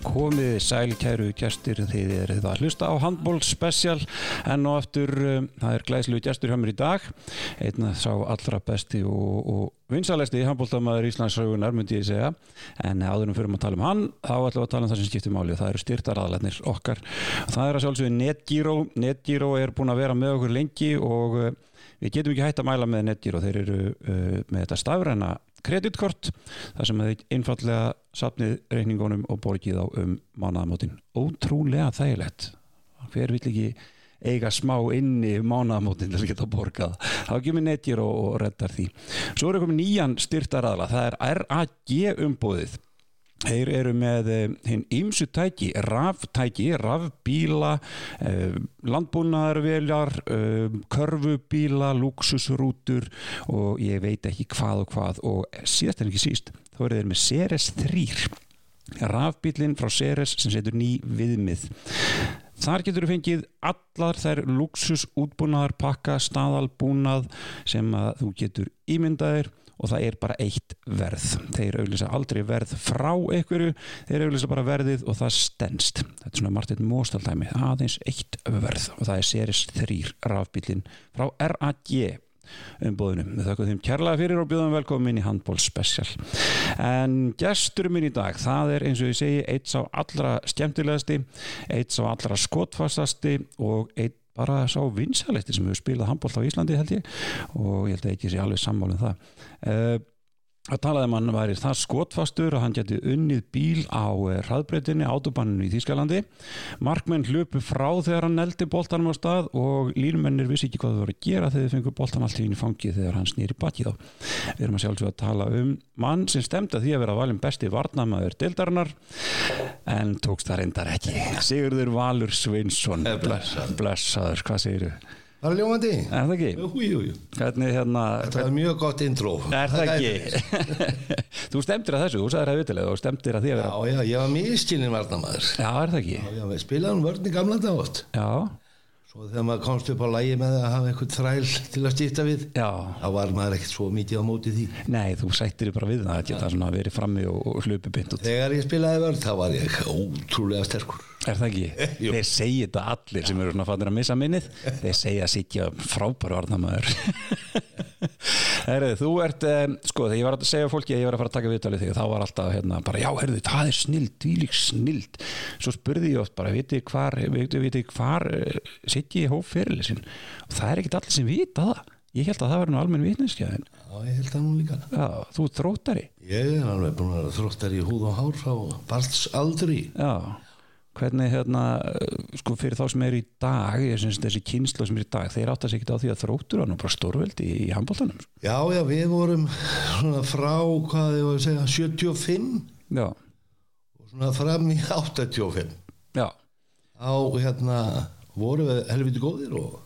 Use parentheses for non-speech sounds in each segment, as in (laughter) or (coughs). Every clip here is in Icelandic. komið sæl kæru gestir þið eruð að hlusta á handból special en og aftur um, það er glæslu gestur hjá mér í dag einn að sá allra besti og, og vinsalesti handbóltamaður Íslandsraugunar myndi ég segja en áðurum fyrir að tala um hann þá ætlum við að tala um það sem skiptir máli og það eru styrtaraðalarnir okkar það er að sjálfsögðu NetGiro NetGiro er búin að vera með okkur lengi og uh, við getum ekki hægt að mæla með NetGiro þeir eru uh, með þetta stafræna kreditkort þar sem þið einfallega sapnið reikningunum og borgið á um mánaðamótin ótrúlega þægilegt hver vill ekki eiga smá inni um mánaðamótin til að geta borgað þá kemur netjir og, og reddar því svo er komin nýjan styrtaraðla það er RAG umbúðið Þeir eru með eh, hinn ímsu tæki, raftæki, rafbíla, eh, landbúnaðarveljar, eh, körfubíla, luxusrútur og ég veit ekki hvað og hvað og síðast en ekki síst, þá eru þeir með Ceres 3, rafbílinn frá Ceres sem setur ný viðmið. Þar getur þú fengið allar þær luxus útbúnaðar pakka staðalbúnað sem að þú getur ímyndaðir og það er bara eitt verð. Þeir auðvisa aldrei verð frá einhverju, þeir auðvisa bara verðið og það stendst. Þetta er svona Martin Móstaldæmi, aðeins eitt verð og það er Series 3 rafbílinn frá RAG umbúðunum. Við þakkum þeim kærlega fyrir og bjóðum velkomin í Handból Special. En gesturum minn í dag, það er eins og ég segi eitt sá allra skemmtilegasti, eitt sá allra skotfastasti og eitt bara sá vinsaletti sem hefur spilað handbólt á Íslandi held ég og ég held að ekki sé alveg sammálum það. Uh, að talaði um að hann væri það skotfastur að hann geti unnið bíl á hraðbreytinni, autobanninu í Þýskalandi markmenn hlupu frá þegar hann eldi boltanum á stað og línumennir vissi ekki hvað þau voru að gera þegar þau fengur boltan allt í einu fangið þegar hann snýri bakið á við erum að sjálfsög að tala um mann sem stemdi að því að vera valin besti varnamaður deildarinnar en tókst það reyndar ekki Sigurður Valur Svinsson Eh, blessaður. blessaður, hvað segir þau? Það er ljómandi Er það ekki? Jú, jú, jú Hvernig hérna Það er mjög gott intro Er það ekki? (laughs) þú stemdir að þessu, þú sagðir það vitilega og stemdir að því að Já, vera já, ég var miskilinn varnamaður Já, er það ekki? Já, já, við spilaðum um vörn í gamla dagot Já, Svo þegar maður komst upp á lægi með að hafa einhvern þræl til að stýta við já þá var maður ekkert svo mikið á móti því Nei, þú sættir þig bara við það, geta svona verið frammi og, og hlupið beint út Þegar ég spilaði vörn þá var ég ótrúlega sterkur Er það ekki? Jú. Þeir segja þetta allir sem eru svona fannir að missa minnið Þeir segja að sitja frábæru varnamaður (laughs) Herðu, þú ert um, sko, þegar ég var að segja fólki að ég var að fara að taka viðtalið þig þá var alltaf hérna bara, já, herðu, það er snild dvílík snild Svo spurði ég oft bara, vitið hvar, vitið, vitið hvar uh, sitja ég hóf fyrirlisin og það er ekkit allir sem vita það Ég held að það var nú almenn vitneskjaðin Já, ég held að hún líka Já, þú ert þróttari Ég er alveg búin að vera þróttar í húð og hár frá barns aldri Já, hvernig hérna eh, sko fyrir þá sem er í dag ég syns þessi kynsla sem er í dag þeir átt að segja á því að þróttur hann og bara stórveldi í, í handbóltanum Já, já, við vorum svona frá, hvað ég var að segja, 75 Já, og svona fram í 85 já, á hérna vorum við helviti góðir og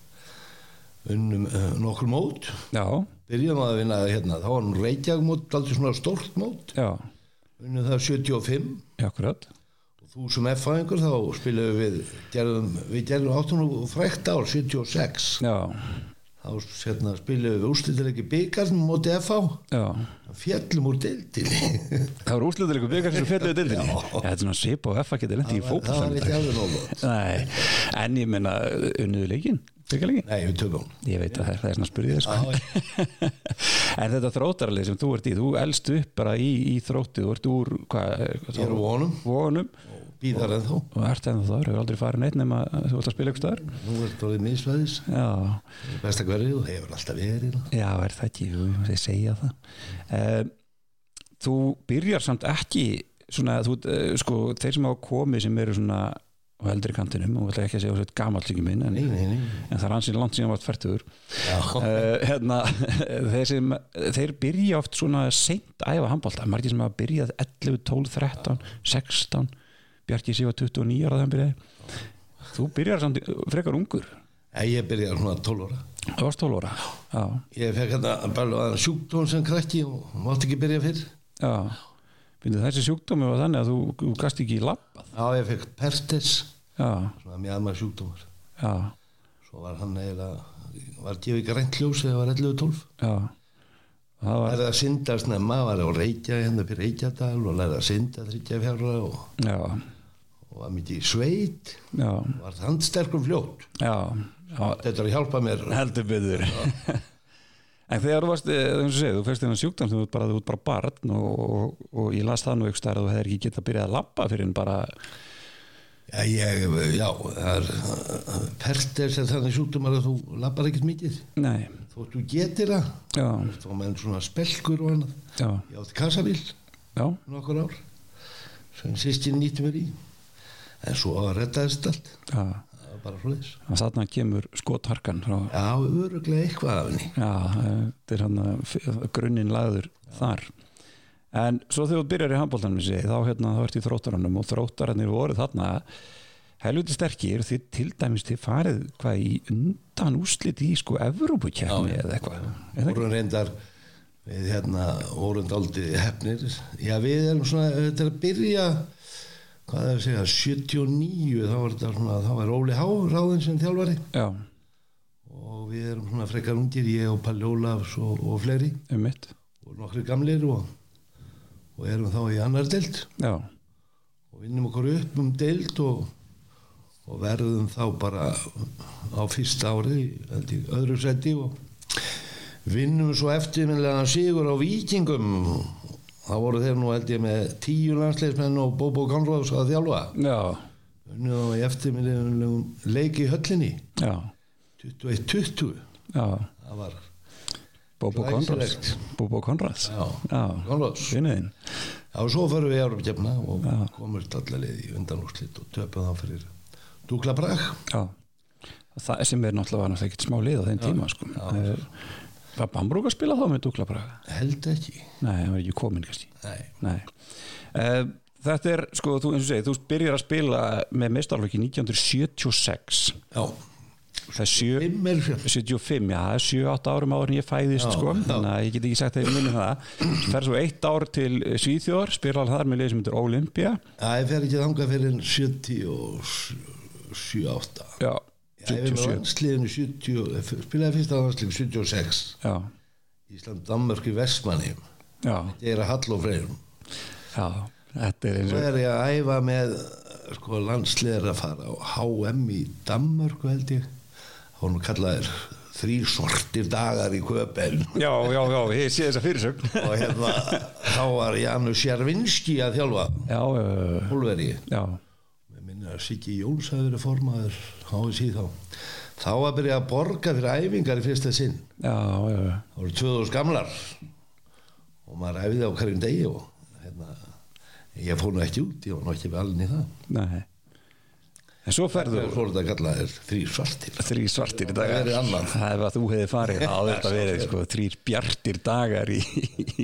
unnum uh, nokkur mót já, byrjum að vinna hérna þá var hann Reykjavík mót, aldrei svona stórt mót já unnum það 75 Já, akkurat og þú sem F-fæðingur þá spilum við gerðum, við gerðum áttunum og frækt ár 76 Já, þá hérna, spilum við úrslítileiki byggarn móti F-á já fjallum úr deildinni Það var úrslutulegu byggar sem fjalluðu dildinni Þetta er svona svip og F að geta lendi í það var ekki fótboltanum alveg nógu gott. Nei, en ég menna unnuðu leikin, byggarleikin nei, við tökum Ég veit að það er, það er svona spurðið sko. En þetta þróttaralið sem þú ert í þú elst upp bara í, í þróttið þú ert úr, hvað, hvað ég er á vonum, vonum býðar en þó og ert ennþá þar, hefur aldrei farin neitt nema að þú ert að spila ykkur staðar nú er þetta orðið misvæðis já, besta hverju og hefur alltaf verið hérna. já, er það ekki, jú, ég segja það um, þú byrjar samt ekki svona, þú, uh, sko, þeir sem hafa komið sem eru svona á eldri kantinum og ætla ekki að segja þessi gamall líki minn en, nei, nei, nei en það er ansinn langt síðan vart færtugur Já, uh, hérna, (laughs) þeir, sem, þeir byrja oft svona seint að æfa handbólta, margir sem hafa byrjað 11, 12, 13, 16 Bjarki Sýva 29 ára þegar hann byrjaði þú byrjar samt frekar ungur Nei, ég byrjaði svona 12 ára Það varst 12 ára Já, Ég fekk hérna bara sjúkdóm sem krakki og mátti ekki byrja fyrr já Fyndi, Þessi sjúkdómi var þannig að þú, þú gast ekki í labbað Já, ég fekk Pertes Já, svona mjög aðma sjúkdómar já, Svo var hann eiginlega var gefið grænt ljós eða var 11 og 12 já Það var, Lærði að synda snemma, var á Reykja hérna fyrir Reykjadal og lærði að synda 34 ára og já og var mikið í sveit já, var handsterkur fljótt já, já þetta er að hjálpa mér heldur byggður En þegar þú varst, eh, eins og segið, þú fyrst þennan sjúkdám sem þú ert bara, þú ert bara barn og, og, og ég las það nú ykkur stær að þú hefðir ekki getað að byrja að labba fyrir en bara, já, ég, já það er perter sem þannig sjúkdumar að þú lappar ekkert mikið nei, þótt þú getir það já, þá var menn svona spelkur og annað já, ég átti kassabíl já, nokkur ár sem sýstin nýtti mér í en svo reddaðist allt já, það var bara frá þess þannig að þarna kemur skotharkan frá, já, öruglega eitthvað af henni já, eh, þetta er hann að grunnin lagður þar. En svo þegar þú byrjar í handbóltanum, segi, þá hérna, þá ert í þróttaranum og þróttararnir voru þarna helviti sterkir, þið til dæmis þið farið hvað í undan úslit í sko Evrópukjæmi eða eitthvað. Er það ekki? vorum reyndar við hérna vorum daldi hefnir já, við erum svona, þetta er að byrja hvað er að segja, 79 þá var þetta svona, þá var Óli Há ráðin sem þjálfari Já, og við erum svona frekar ungir, ég og Palli Ólafs og, og fleiri um mitt. og nokkri gamlir og, og erum þá í annar delt Já, og vinnum okkur upp um deild og, og verðum þá bara á fyrsta ári í öðru seti og vinnum svo eftirminlega sigur á vikingum þá voru þeir nú held ég með tíu landsleismenn og Bobo Conrads að þjálfa já, vinnum þá í eftirminlegum leik í höllinni já, 21-20 já. það var Bobo Conrads. Glæsilegt. Bobo Conrads. já, Já, Conrads vinniðinn. Já, og svo förum við í Európkefna og Já. komumst allar leið í undanúrslit og töpum þá fyrir Dúkla Brag Já. Það sem er náttúrulega var náttúrulega ekkert smá lið á þeim tíma, sko. Það er- Var Bambrúk að spila þá með Dúkla Braga? held ekki Nei, hann var ekki komin, kannski. Nei. Nei. Eh, Þetta er, sko, þú, eins og segið, þú byrjar að spila með mestarlöki 1976. Já, Það er sjö... fimm er fjall 75, já, það er 7-8 árum áður en ég fæðist, sko, þannig að ég get ekki sagt að ég minni það. Fer svo eitt ár til eh, Svíþjóðar, spilar þar með liði sem heitir Olympia, Það ég fer ekki þangað fyrir 77-8 já, Ég er með 77, landsliðinu 70 eh, spilaði fyrsta landsliðinu 76 já, Ísland, Danmörk í Vestmanni já, ég er að hall og freyrum já, þetta er eins Svo og, er ég að æfa með eh, sko, landsliðar að fara á HM í Danmörku held ég Það voru nú kallaðir þrýr sortir dagar í Köpen já, já, já, ég sé þessa fyrirsögn. og hérna þá var Janus Jarvinski að þjálfa Já, eh, Hólverið já, Mér minna að Siggi Jóns hafi verið formaður háið síðan þá. Þá að byrja að borga fyrir æfingar í fyrsta sinn. já, já, Það voru 2000 gamlar og maður æfiði á hverjum degi og hérna, ég fór nú ekki út, ég var nú ekki við alveg í það. nei. En svo Það ferðu er fór þetta að kalla þér þrý svartir. þrý svartir Það dagar verið annað. það ef að þú hefði farið þá hefði þetta verið sko, þrýr bjartir dagar í,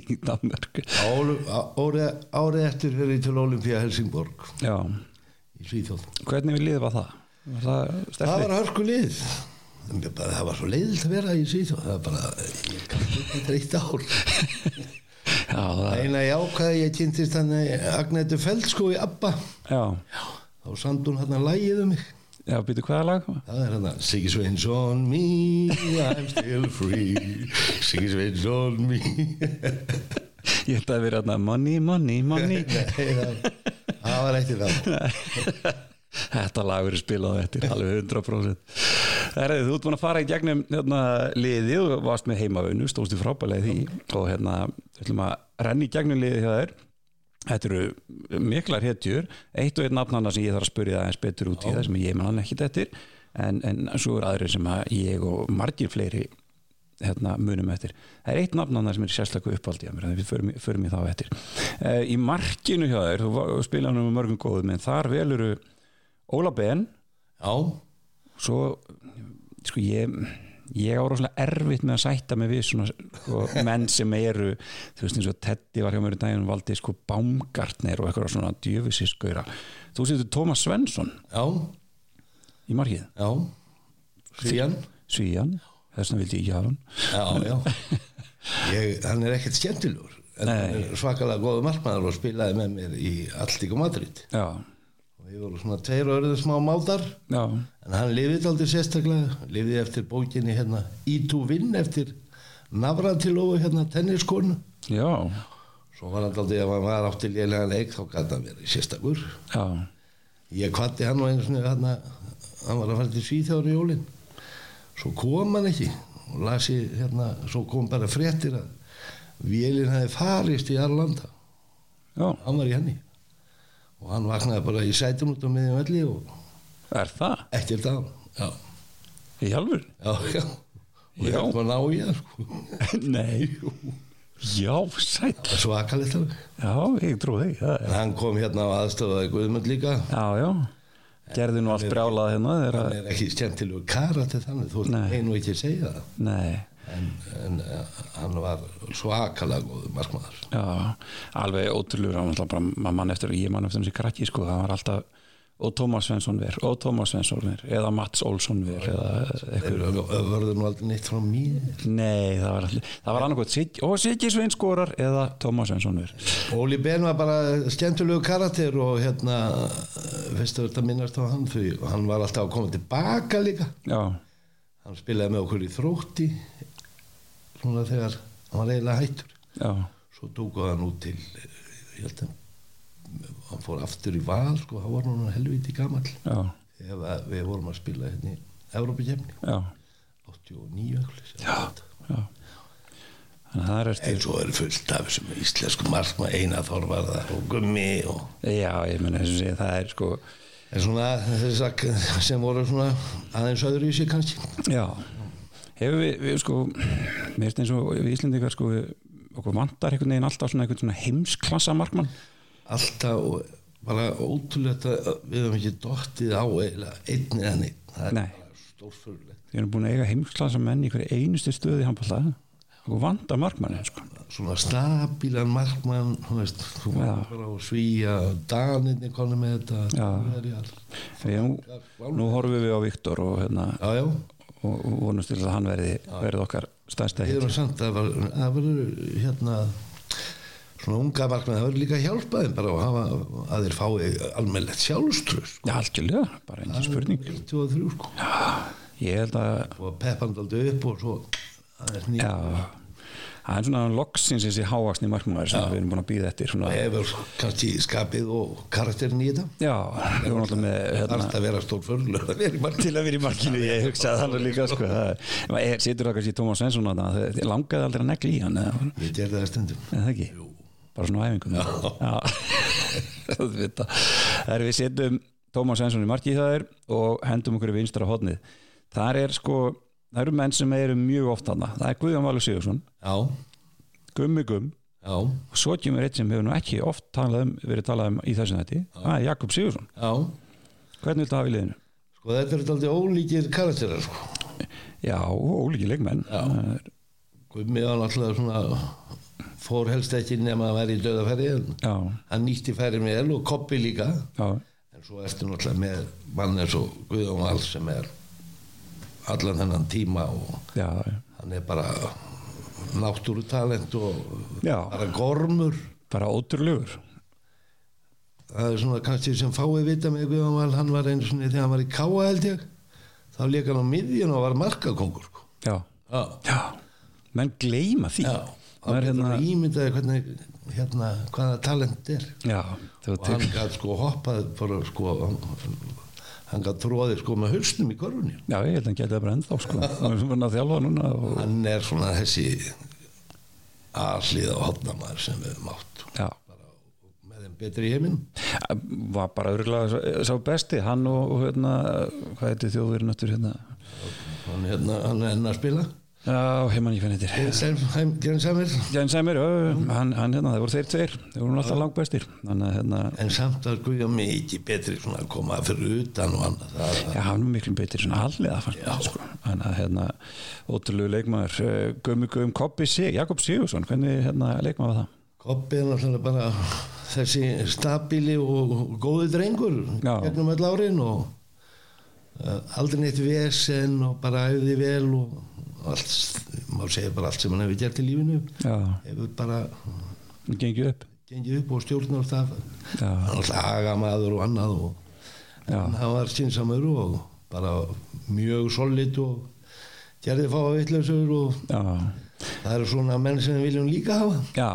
í Danmörku Álu- á- Árið ári eftir fyrir ég til Olimpíu Helsingborg já, í Svíþjóð. Hvernig við liðið var það? Var það Það sterkli? var hörku lið. En ég bara- Það var svo leiðilt að vera í Svíþjóð. Það var bara, ég kannski ekki dreitt ár. Já, það, Eina jákvæði ég kynntist hann Agnættu Feldskó í Abba já, þá samt hún hann að lægið um mig já, býtu hvaða lag? það er hann að Siggy Sveins on me I'm still free Siggy Sveins on me Ég held að það verið að money, money, money Nei, það það var eitt í það Þetta lag verið spilað á eftir alveg 100% Herrið, þú ert búin að fara í gegnum hérna, liðið og varst með heimavönu, stóðst í frábælega í því og hérna, við ætlum að renni í gegnum liðið hjá þér Þetta eru miklar hetjur Eitt og einn nafnana sem ég þarf að spyrja það eins betur út í það sem ég man hann ekkit eftir en, en svo eru aðrir sem að ég og margir fleiri hérna, munum eftir. Það er eitt nafnannar sem er sérstaklega uppaldi að mér, en við förum, förum í þá eftir. Uh, í markinu hjá þér, þú var- spilaði hann með mörgum góðum, en þar veluru Óla Ben, já, svo sko ég ég á rosalega erfitt með að sætta mig við svona sko, menn sem eru þú veist eins og Teddy var hjá mér í daginn og valdi sko Baumgartner og eitthvað svona djöfisískauðra. Þú setur Thomas Svensson já, í markið, já síðan svíjan þess vegna vildi ég ekki hafa hann. já, já ég, hann er ekkert skemmtilegur en hann er svakalega góðu markmaður og spilaði með mér í Alltík og Madrid Já, og við vorum svona tveir og öruðu smá mátar já, En hann lifið aldrei sérstaklega, lifið eftir bókinni hérna Ítú Vinn eftir Navratilófu hérna tenniskonu. já, Svo var hann aldrei að hann var átti lélega leik þá gæti hann verið sérstakur. já, ég kvatti hann og einu sinni hann, hann var að fara til Svíþjóður í jólin svo kom hann ekki og lasi hérna, svo kom bara fréttir að vélinn hefði farist í Arlanda Já, hann var í henni og hann vaknaði bara í sætum út á miðjum velli og er það? eftir það já, Í alvöru? (laughs) já, já og Já. það var ná í það sko Nei Já, sæll svakalegt alveg Já, ég trú þig það er- hann kom hérna á aðstofaði Guðmund líka Já, já Gerði nú allt brjálað hérna þegar hann að er ekki skemmtilegu karati þannig þú Nei. ert einu ekki að segja það Nei, en, en eh, hann var svakalega góðu markmaður já, alveg ótrúlegur hann var alltaf bara, maður mann eftir, ég mann eftir þessi krakki sko, það var alltaf og Tómas Svensson ver, og Tómas Svensson ver eða Mats Olsson ver eða eitthvað þeir verður nú aldrei neitt frá mér Nei, það var, allir- það var annarkot Sig, og Siggi Sveins skorar eða Tómas Svensson ver Óli Ben var bara skemmtilegu karakter og hérna fyrst að þetta minnast á hann því hann var alltaf að koma tilbaka líka Já, hann spilaði með okkur í þrótti svona þegar hann var eiginlega hættur já, svo tókuð hann út til eh, ég held að hann fór aftur í val sko, hann var núna helviti gamall já, ef að við vorum að spila hérna í Evrópakefni já, 89 ekkert já. Þannig að það er eftir en svo er fullt af þessum íslensku markma eina þorvarða og gummi og Já, ég meni þess að segja, það er sko En svona þess sem voru svona aðeins öðru í sig kannski. Já, hefur við, við sko, mér finnst eins og við Íslendingar sko, við- okkur vantar einhvern veginn alltaf svona einhvern svona heimsklassa markmann. Alltaf og bara ótrúlega við höfum ekki dottið á eiginlega einn eða neitt. Það Nei. er bara stórfurlegt. Við erum búin að eiga heimsklassa menn í hverju einustu stöði handballa. Okkur vantar markmann, sko. Svona stabílan markmann, þú veist, þú Já. var bara að svíja daninni konu með þetta. Já. Við, nú horfum við á Viktor og, hérna, Já, já. og og vonumst til að hann verði, verði okkar stærsta Við hitt. erum samt að var- það verður hérna svona unga markmann, það verður líka að hjálpa þeim bara að hafa að þeir fái almennlegt sjálfströð. Já, algjörlega, bara engin spurning. 23 sko. Ég held að, og peppandi aldrei upp og svo aðeins nýja já, það er svona loksins þessi hávaksni markmann sem við erum búin að býða eftir. og Svona, hefur kannski skapið og karakterin í þetta já, við vorum alltaf með, hérna- það þarf að vera stór förlur að vera í marki til að vera í markinu, ég hugsaði þannig líka sko, það er, maður er- situr það kannski í Tómas Svensson að það, það langaði aldrei að negli í hann eða eða ég gerði það stundum það ekki, bara svona á æfingum já, auðvitað. það er við setjum Tómas Svensson í markið það er og hendum okkur í vinstra hodnið, þar er sko það eru menn sem eru mjög oft hana það er Guðjón Valur Sigursson, já, Gummi Gumm já, og svo kemur eitt sem hefur nú ekki oft talað um, verið talað um í þessum þetta, það er Jakob Sigursson já hvernig viltu hafa í liðinu? sko þetta eru aldrei ólíkir karakterar sko. Já, ólíki leikmenn Það er- Guðmi var náttúrulega svona fór helst ekki nema að vera í döðafæri en Já, hann nýtti færi með el og koppi líka já en svo ertu náttúrulega með mann eins og Guðjón Val sem er allan þennan tíma og Já, hann er bara náttúrutalent og já, bara gormur bara ótrúlegur það er svona kannski sem fáið vita með Guðan Val, hann var einu svona þegar hann var í Káa held ég þá leik hann á miðjun og var markakongur sko. Já, já, já menn gleyma því já Það er hann hérna... hérna ímyndaði hvernig hérna, hvaða talent er Já, þú og hann tekur gætt sko hoppað bara, sko, hann, hann gætt tróðið sko með hausnum í korfunni Já, ég held að hann geti það bara ennþá sko Hann er svona að þjálfa núna og... hann er svona þessi aðslið á hotnamaður sem við höfum átt Já, með þeim betri í heiminum var bara örgulega sá, sá besti Hann og, og hérna, hvað heiti þjóðurinn öttur hérna hann, hérna, hann er enn að spila Já, heimann ég finn heitir Gensamir Jens Emir, hann, hann hérna, það voru þeir tveir Þeir voru nú alltaf langbestir Þannig að hérna, en samt að guðja mikið betri svona að koma fyrir utan og annað það, Já, hann er miklu betri svona allega fannst mér, sko. Þannig að hérna, ótrúlegu leikmaður eh, Gummi Guðum Koppi Sig, Jakob Sigursson hvernig hérna leikmaður var það? Koppi er náttúrulega bara þessi stabíli og góði drengur Já. gegnum öll árin og uh, aldrei neitt vesen og bara æði vel og allt, má segja bara allt sem hann hefur gert í lífinu Já, hefur bara hann gengið upp gengið upp og stjórnar það Já, hann var agamaður og annað og Já. en hann var sínsamur og bara mjög solid og gerði fá að vitleysur og já, það eru svona menn sem við viljum líka hafa Já,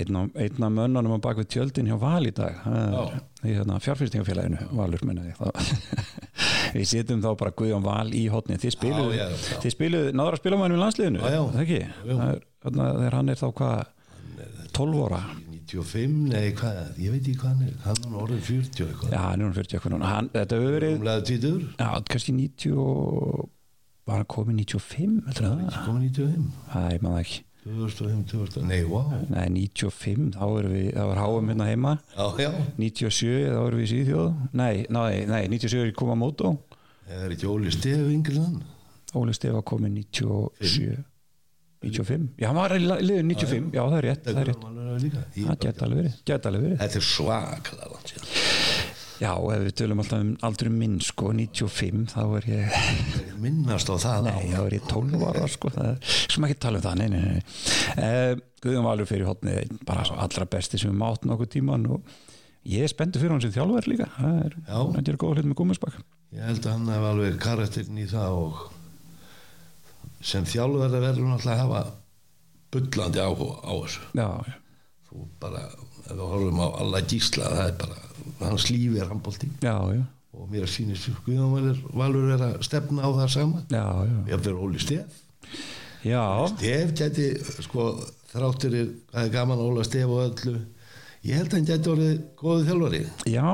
einn af, einn af mönnunum á bakvið tjöldin hjá Val í dag Það er- í hérna, fjárfyrstingafélaginu Valur menna ég það (laughs) Við setjum þá bara Guðjón Val í hotni Þið spiluðu, Já, já, já. Þið spiluðu náður að spila mænum í landsliðinu Já, já. er það ekki? Það er- Þarna, þegar hann er þá hvað 12 óra 95, nei hvað, ég veit ekki hvað hann er hann er orðin 40 eitthvað Já, hann er hún 40 eitthvað núna hann, Þetta hefur verið, umlega 20, já, kannski 90 og var hann komið 95 heldur það? komið 95 Æ, maður það ekki 2005, 2000, nei, wow Nei, 95, þá erum við, þá er háum hérna heima já, já, 97, þá erum við í Svíþjóð Nei, nei, nei 97 er koma mótó það er ekki Óli Stefi yngri en hann Óli Stefa komið 97 95, já, hann var í la- liðinu 95 já, það er rétt, það er rétt Hann var alveg líka. Ég- það geta alveg verið, geta alveg verið þetta er svaklega langt síðan. já, ef við tölum alltaf um aldrei minn sko, 95, þá er ég Ég minnast á það nei, þá er ég 12 ára sko, það er sem ekki tala um það, nei, nei, nei eh, Guðum Valur fyrir hotnið, bara svo allra besti sem við mátt nokkuð tíman og ég er spenntur fyrir hann sem þjálfur líka það er, Já. hann er góð hlut með gúmisbakk ég held að hann hef alveg karakterin í það og sem þjálfverða verður hann alltaf að hafa bullandi áhuga á þessu já, já þú bara, ef við horfum á alla gísla það er bara, hans lífi er handbólti Já, já, og mér sýnist Guðjón Valur, Valur er að stefna á það sama já, já, ég fyrir Óli Stef já, Stef gæti, sko, þráttur er, það er gaman að Óla Stef og öllu ég held að hann gæti orðið góðu þjálfari já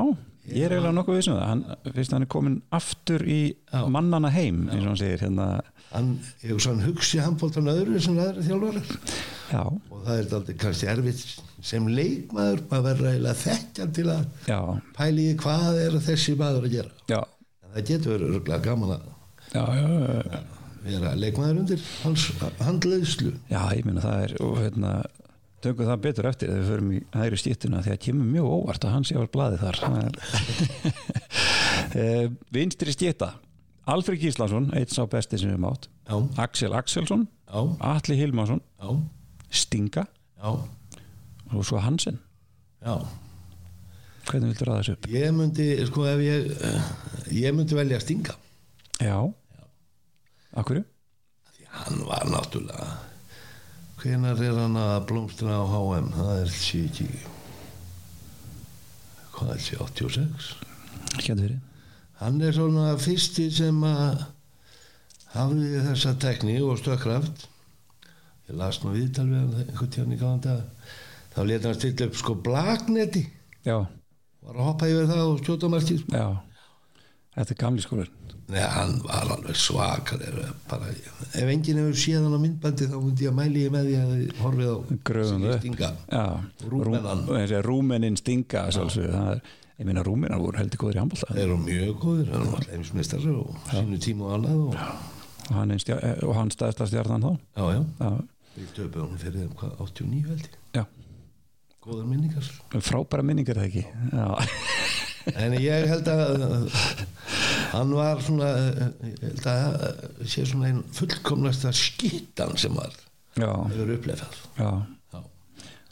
ég er eiginlega nokkuð vissum það hann, fyrst hann er komin aftur í mannana heim eins og hann segir hérna hann, ég hugsa hann hugsi handbóltan öðru sem aðra þjálfarar já, og það er aldrei kannski erfitt sem leikmaður, maður verður eiginlega þekkjan til að já, pæli í hvað er þessi maður að gera já en það getur verið örgulega gaman að já, já, já, vera leikmaður undir hans handleðslu já, ég meina það er og hérna, tökum það betur eftir þegar við förum í hægri stýttuna því að kemur mjög óvart að hann sé á blaði þar Það (laughs) er- Eh, vinstri stýtta Alfred Gíslason, eitt sá besti sem við mátt já, Axel Axelsson, já, Atli Hilmarsson já, Stinga já, og svo Hansen já. hvernig viltu ræða þessu upp? ég myndi, sko ef ég ég myndi velja að stinga Já, akkurju? því hann var náttúrulega hvenar er hann að blómstra á HM það er sé ekki hvað er sé 86 Hérna fyrir hann er svona fyrsti sem að hafði þessa tekni og stökkraft ég las nú viðtal við hann einhvern tíðan í gáðan dag þá leta hann stilla upp sko blakneti Já, var að hoppa yfir það og stjóta markið já Þetta er gamli skólin Nei, hann var alveg svakar bara, ef enginn hefur séð hann á myndbandi þá myndi ég að mæli ég með því að þið horfið á Gröfum Siggi þau upp. Stinga Já, Rúmenan. Rúmenin stinga sjálfsög, það er, Ég meina rúmenar voru heldur góður í handbólta þeir eru mjög góðir hann var heimsmeistar og sínu tíma og annað og, og hann, er stjá- eh, og hann stæðst að stjarnan þá já, já, Já, við töpum hún fyrir þeim hvað, 89 held ég, já góðar minningar frábæra minningar er það ekki Já, (laughs) En ég held að uh, hann var svona uh, ég held að uh, sé svona einn fullkomnasta skittan sem var já, hefur upplefað já Já.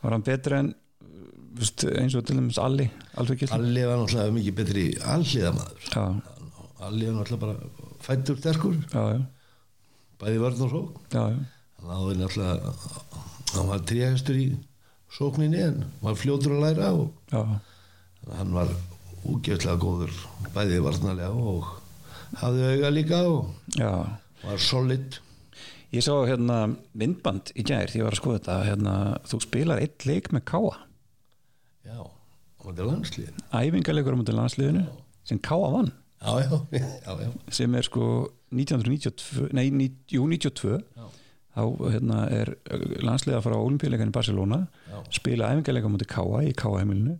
Var hann betri en veist, eins og til dæmis Alli Alfred Gillan Alli var náttúrulega mikið betri allíðamaður Já, Alli var náttúrulega bara fættur sterkur já, já, bæði vörn og sók já, já. hann áður náttúrulega hann var tríhæstur í sókninni en var fljótur að læra og já. hann var úgjöflega góður bæði varnalega og hafði auga líka og já. var solid Ég sá hérna myndband í gær því ég var að skoða þetta hérna, þú spilar eitt leik með Káa Já, og þetta er landslíðin æfingarleikur á mútið landsliðinu sem Káa vann Já, (laughs) já, já, já, sem er sko 1992 nei, ní, jú, 92 þá hérna, er landsliða frá olimpíuleikan í Barcelona Já. spila æfingarleika á mútið Káa í Káa heimilinu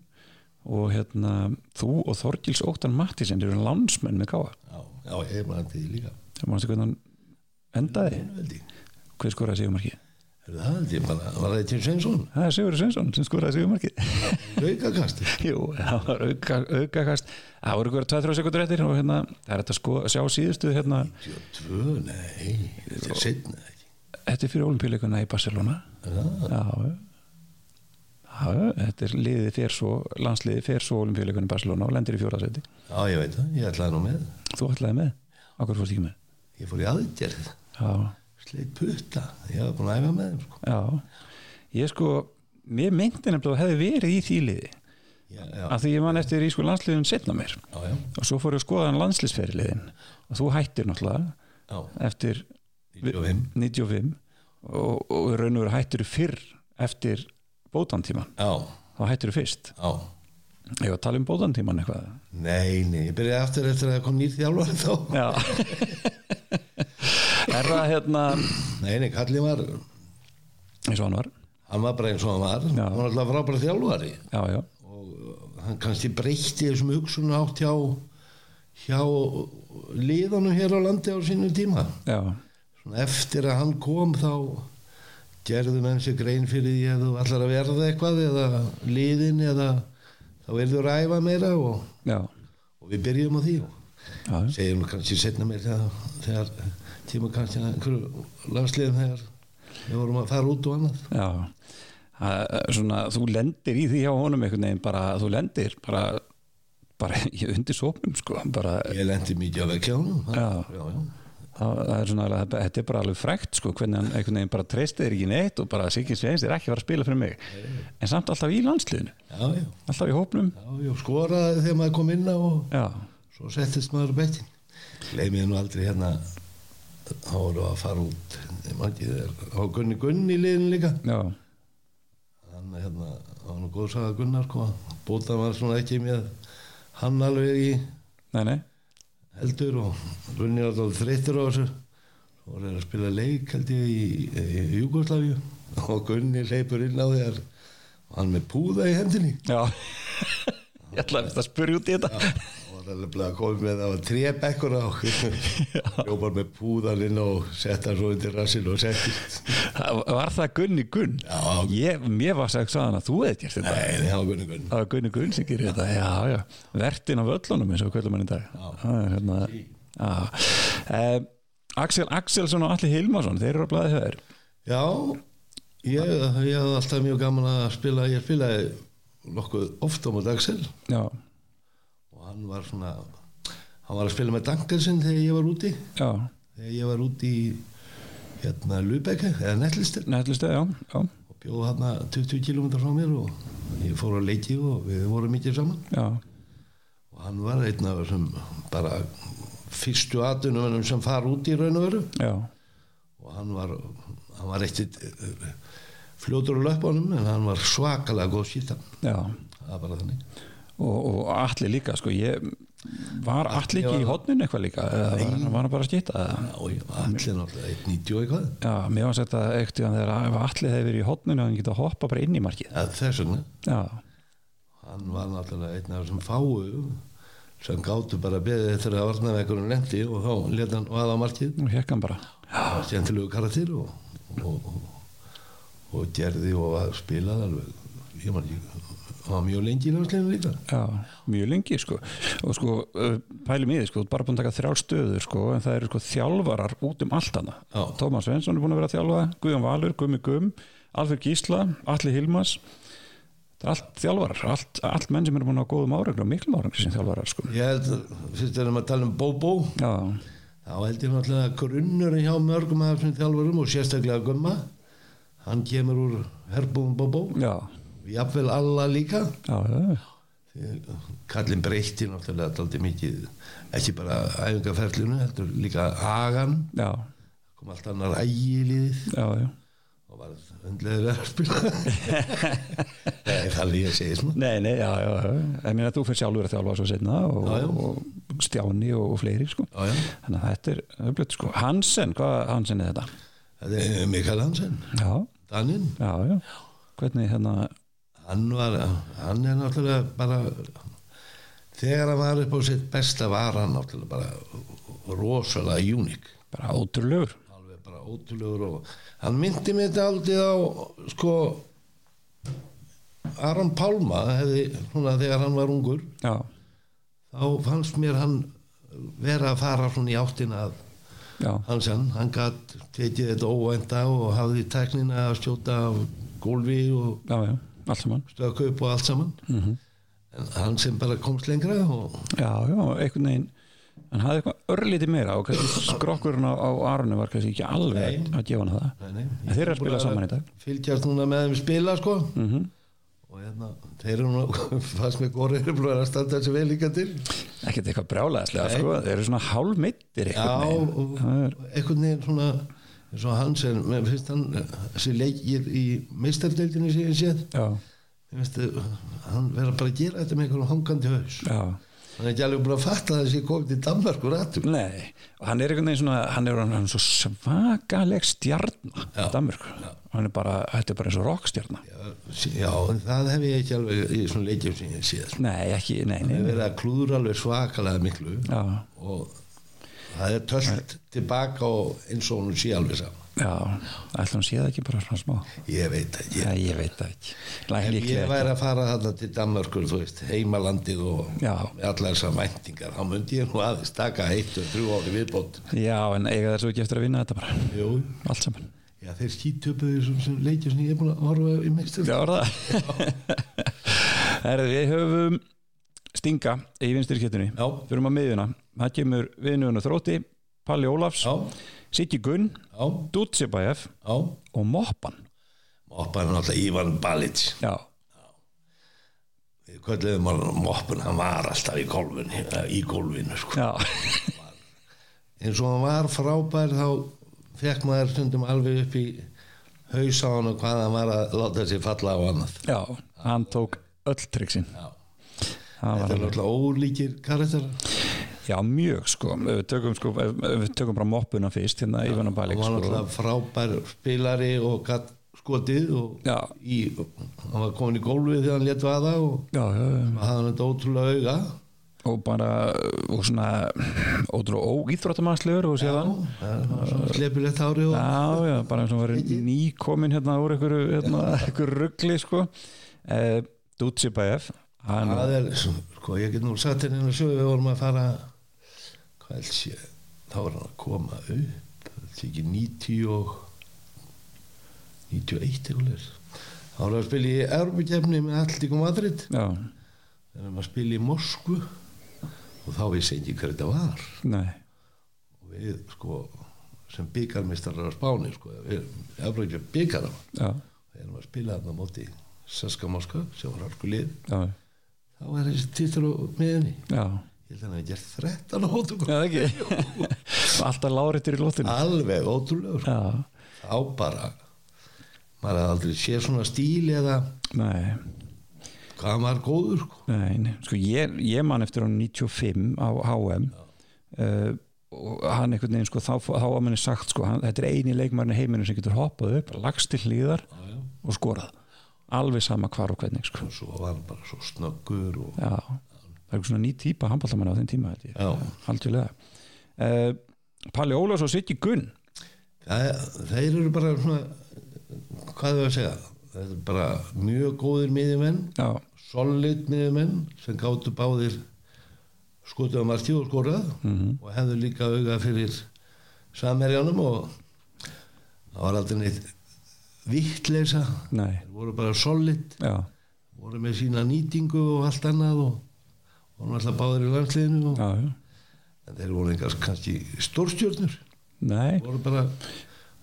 og hérna þú og Þorgils Óttan Mattísen eru landsmenn með Káa já, já, ég man til því líka það mannstu hvernig hann endaði Einveldi. hver skoraði Sigurmarkið? Er það held ég bara, var það Tim Sveinsson? Það er Sigurður Sveinsson sem skoraði Sigurmarkið Raukakast Jú, það var auka, aukakast það voru ykkur 2-3 sekundur eftir og hérna, það er þetta sko, sjá síðustu hérna, 22, nei, þetta er setna ekki þetta er fyrir olimpíuleikuna í Barcelona Er það? já, já, já þetta er liðið fyrir svo, landsliðið fyrir svo olimpíuleikuna í Barcelona og lendir í fjóraðsæti Já, ég veit það, ég ætlaði nú með þú ætlaði með, okkur fórst ekki með Ég fór í aðgerð já, Sleit putta, ég hafði búin að æfa með þeim sko. já, ég sko mér myndi nefnilega að hefði verið í þýliði já, já, af því ég man eftir í sko landsliðin setna mér já, já, og svo fór ég að skoða hann landsliðsferiliðin og þú hættir náttúrulega já. eftir 95 95 og, og í raun og veru hættir þú fyrr eftir bótantíman Já, þá hættir þú fyrst já ég var að tala um bótantíman eitthvað Nei, nei, ég byrjaði aftur eftir að það kom nýr þjálfari þá já (laughs) er það hérna Nei, nei, kallið var, eins og hann var hann var bara eins og hann var Já. Hann var alltaf frábæra þjálfari já, já, og uh, hann kannski breytti þessum hugsun átt hjá hjá liðanum hér á landi á sínum tíma já, Svona eftir að hann kom þá gerðu menn sér grein fyrir því að þú ætlar að verða eitthvað eða liðin eða þá verður þú ræfa meira og, já, og við byrjum á því og já, segjum nú kannski setna meir þegar, þegar tíma kannski að einhverju landsliðum þegar við vorum að fara út og annað já. Það er Svona, þú lendir í því hjá honum einhvern veginn bara, þú lendir bara, bara (laughs) ég undir sópnum sko bara, ég lendi mikið á vekja honum Já. já, já. það það er svona, alveg- þetta er bara alveg frækt sko, hvernig hann einhvern veginn bara treystir þér ekki neitt og bara Siggi Sveins er ekki að fara að spila fyrir mig en samt alltaf í landsliðinu Já, já. alltaf í hópnum Já, já, skoraði þegar maður kom inn á og já, svo settist maður á bettin. Gleimið nú aldrei hérna, þá voru að fara út, ég man ekki þeir, þá var Gunni Gunni í liðin líka. já, Hann hérna, það var nú góðsaga Gunnar, sko, bóta maður svona ekki með hann alveg í nei, nei heldur og Gunni var alltaf þreyttur á þessu. Svo voru þeir að spila leik, held ég, í, í Júgoslavíu og Gunni leipur inn á þegar og hann með púða í hendinni. já (laughs) ég ætla að spyrja út í þetta og það er bara komið með það var trébekkur (laughs) á jópar með púðan inn og setta hann svo undir rassin og settist Það var það Gunni Gunn Já. ég, mér var sagt saðan að þú hefði gert þetta nei, það var gunni gunni það var Gunni Gunn sem gerir þetta já, já. vertin af öllunum eins og kvöldum hann í dag það er hérna já. Eh, Axel Axelsson og Alli Hilmarsson þeir eru að blaði höður já, ég, ég hafði alltaf mjög gaman að spila ég spilaði nokkuð oft á mót Axel já, og hann var svona hann var að spila með Dankelsen þegar ég var úti já, þegar ég var úti í hérna Lubeke eða Nettlistel nætlistu, já, já, og bjóð hérna 20 km frá mér og ég fór á leiki og við vorum mikið saman já, og hann var einn af þessum bara fyrstu atunumennum sem fara út í raun og veru já, og hann var, hann var eitt fljótur á löpunum en hann var svakalega góð skýrtan já. það var bara þannig Og, og Alli líka sko, ég, var Alli ekki í hotninu eitthvað líka eða var, hann- var hann bara að skýta já, og ég var allir náttúrulega 1.90 og eitthvað mér var sagt að ekkert þegar Alli hefði verið í hotninu hann geta hoppa bara inn í markið að þess vegna, já, hann var náttúrulega einn af þessum fáu sem gáttu bara beðið eftir að varnaveikurinn lendi og þá leta hann vaða á markið nú hekk hann bara Það var skemmtilegu karakter og, og, og, og gerði og var spilað alveg ég man ekki hann var mjög lengi í landsleginu líka Já, mjög lengi sko og sko, uh, pælum í því sko þú ert bara búin að taka þrjár stöður sko en það eru sko þjálfarar út um allt hana Já. Tómas Svensson er búin að vera að þjálfa Guðjón Valur, Gummi Gum, Alfred Gísla Alli Hilmas það er allt þjálfarar, allt, allt menn sem eru búin að hafa góðum árangri og miklum árangri sem þjálfarar sko ég held, fyrst erum að tala um Bóbó Já, þá held ég náttúrulega að grunnurinn hjá mörgum af þessum þjálfurum og sérstaklega Gumma hann kemur úr herbúum Bóbó já, jafnvel alla líka já, já, Því kallinn breytti náttúrulega daldi mikið ekki bara æfingarferlinu heldur líka agan já, kom allt annar ægi í liðið já, já. og var hundleður að spila (laughs) Nei, það er líka að segja svona Nei, nei, já, já, já. Ég meina þú fyrir sjálfur að þjálfa svo setna og, Já, já. og Stjáni og, og fleiri sko Já, já. Þannig að þetta er öflut sko Hansen, hvað Hansen er þetta? Þetta er Mikael Hansen, Já, Danin já, já hvernig hérna hann var, hann er náttúrulega bara þegar hann var upp á sitt besta var hann náttúrulega bara rosalega unik bara ótrúlegur alveg bara ótrúlegur og hann myndi mig þetta aldrei á sko Aron Pálma hefði, svona, þegar hann var ungur já, þá fannst mér hann vera að fara svona í áttina að já, Hansen, hann gatt tekið þetta óvænta og hafði teknina að stjóta af gólfi og já, já, allt saman stöku Mhm. upp og allt saman en hann sem bara komst lengra og já, já, einhvern veginn en hafði eitthvað örlítið meira og kannski skrokkurinn á, á Arnu var kannski ekki alveg Nei. að gefa hann það Nei, nei, en þeir eru að spila saman í dag Fylgjast núna með þeim spila sko mm og hérna, þeir eru nú (laughs) fannst með góri eru búin að standa þessi vel líka til ekkert eitthvað brjálæðislega Nei. sko, þeir eru svona hálmittir Já, og einhvern veginn svona eins og Hansen, mér finnst hann þessi leikir í meistardeildinu sem ég séð, já, mér finnst þið, hann verður bara að gera þetta með einhverjum hangandi haus já hann er ekki alveg búin að fatta þessi komið til Danmark og rættum Nei, og hann er einhvern veginn svona hann er, hann er svo svakaleg stjarn Já. Danmörk, hann er bara þetta er bara eins og rockstjarn Já, en það hef ég ekki alveg í svona leikjum sem ég séð Nei, ekki, nei, nei, það er nei. verið að klúðra alveg svakalega miklu Já, og það er tölt tilbaka og eins og hún sé alveg saman já, ætla hann sé það ekki bara svona smá ég veit ekki Já, ég veit það ekki Læk, Ef líklega ég ekki. væri að fara þarna til Danmarkur, þú veist, heimalandið og Já. allar þessar væntingar, þá myndi ég nú aðeins taka eitt og þrjú ári viðbót. Já, en eiga þessu ekki eftir að vinna þetta bara Jú, Allt saman já, þeir skítöpuðu þessum sem leikjum sem ég er búin að horfa í meistur. Já, er það Herðu, við höfum Stinga í vinstirkettunni Já, Fyrir að miðuna, það kemur viðnöðun og þrótti Palli Ólafs, já, Siggi Gunn já, Dutsibæf já. og Moppan Moppan er náttúrulega Ívan Balic. Já, Við kvölduðum hann Moppan, hann var alltaf í golfinu, í golfinu, sko. já, Eins og hann var frábær þá fekk maður stundum alveg upp í haus á hann og hvað hann var að láta sér falla á annað. já Hann tók öll triksin Já. Það var Þetta er náttúrulega ólíkir karakterar. Já, mjög sko, Ef við tökum, sko, ef- ef við tökum bara moppuna fyrst hérna í Vannabælik hann sko. var náttúrulega frábær spilari og gatt skotið og Já, í, hann var komin í gólfið þegar hann létt vaða og já, já, já. hann hafði þetta ótrúlega auga og bara og svona ótrúlega óýþróttamannslegur og séðan og slepilegt hári og já, já, bara eins og hann var nýkomin hérna úr einhverju, hérna, einhverju ruggli sko eh, Dutsi BF hann, það er, sko, ég get nú satt henni inn að sjóðu við vorum að fara hvað helst ég, þá var hann að koma upp það er ekki 90 og 91 eitthvað leir þá var hann að spila í Erbukefni með Alltíku Madrid já, þegar maður spila í Moskvu og þá vissi ekki hver þetta var nei, og við sko sem byggarmistarar á Spáni sko, við erum ekki byggara já, við erum að spila þarna á móti Saska Moskva sem var hálfkulið já þá er þessi titur á miðinni já, ég held að hann hafi gert 13 hótum já (laughs) ekki alltaf láritur í lótinu alveg ótrúlega sko. já, á bara maður hafði aldrei séð svona stíl eða nei hvað hann var góður sko. Nei, nei. sko ég, ég man eftir hann 95 á HM uh, og hann einhvern veginn sko, þá, þá var manni sagt sko, hann, þetta er eini leikmarinn í heiminu sem getur hoppað upp, lagst til hlýðar já. og skorað, alveg sama hvar og hvernig sko. og svo var hann bara svo snöggur og já, það er einhver svona ný típa handballamann á þeim tíma held ég, já. algjörlega uh, Palli Ólafs og Siggi Gunn Það, þeir eru bara svona hvað þau að segja þeir eru bara mjög góðir miðjumenn já, solid miðjumenn sem gáttu báðir skotuð á marki og skorað og hefðu líka auga fyrir samherjanum og það var aldrei neitt vittleisa nei, þeir voru bara solid já, voru með sína nýtingu og allt annað og voru alltaf báðir í landsliðinu og, já, já en þeir voru engar kannski stórstjörnur nei, voru bara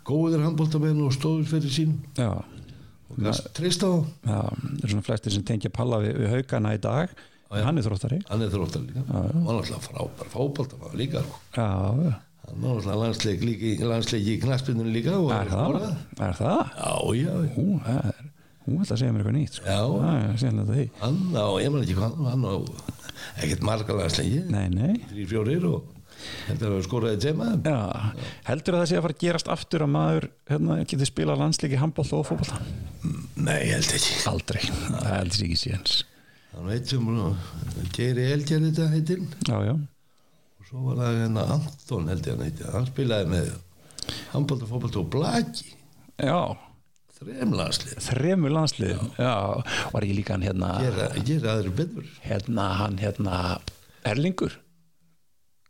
góðir handbóltamenn og stóður fyrir sín já og gast treysta á þá. Já, það er svona flestir sem tengja palla við, við haugana í dag, en hann er þróttari hann er þróttar líka og hann er alltaf frábær fókbóltamenn líka sko. Já, já hann er alltaf landsleik, líki, landsleik í knaspinu líka og Er það? já, Er það? já, já, Ú, það er, hún ætla að segja mér eitthvað nýtt sko. Já. Það er sérlega því hann á, ég man ekki hvað hann á ekkert marga landsleiki Nei, nei þrý fjórir og þetta er að skoraði tema Já, heldur það sé að fara að gerast aftur að maður hérna, geti spilað landsleiki handbóll og fótboll nei, ég held ekki Aldrei, það heldur sig ekki síðans hann veit sem nú- Geiri eh, Elger þetta heitir hann. Já, já, og svo var það hérna Anton held ég hann heitir hann spilaði með handbólta, fókbólta og blaki já þrem landslið Þremur landsliðum, já, var ég líka hann hérna gera, gera aðri betur Hérna, hann hérna Erlingur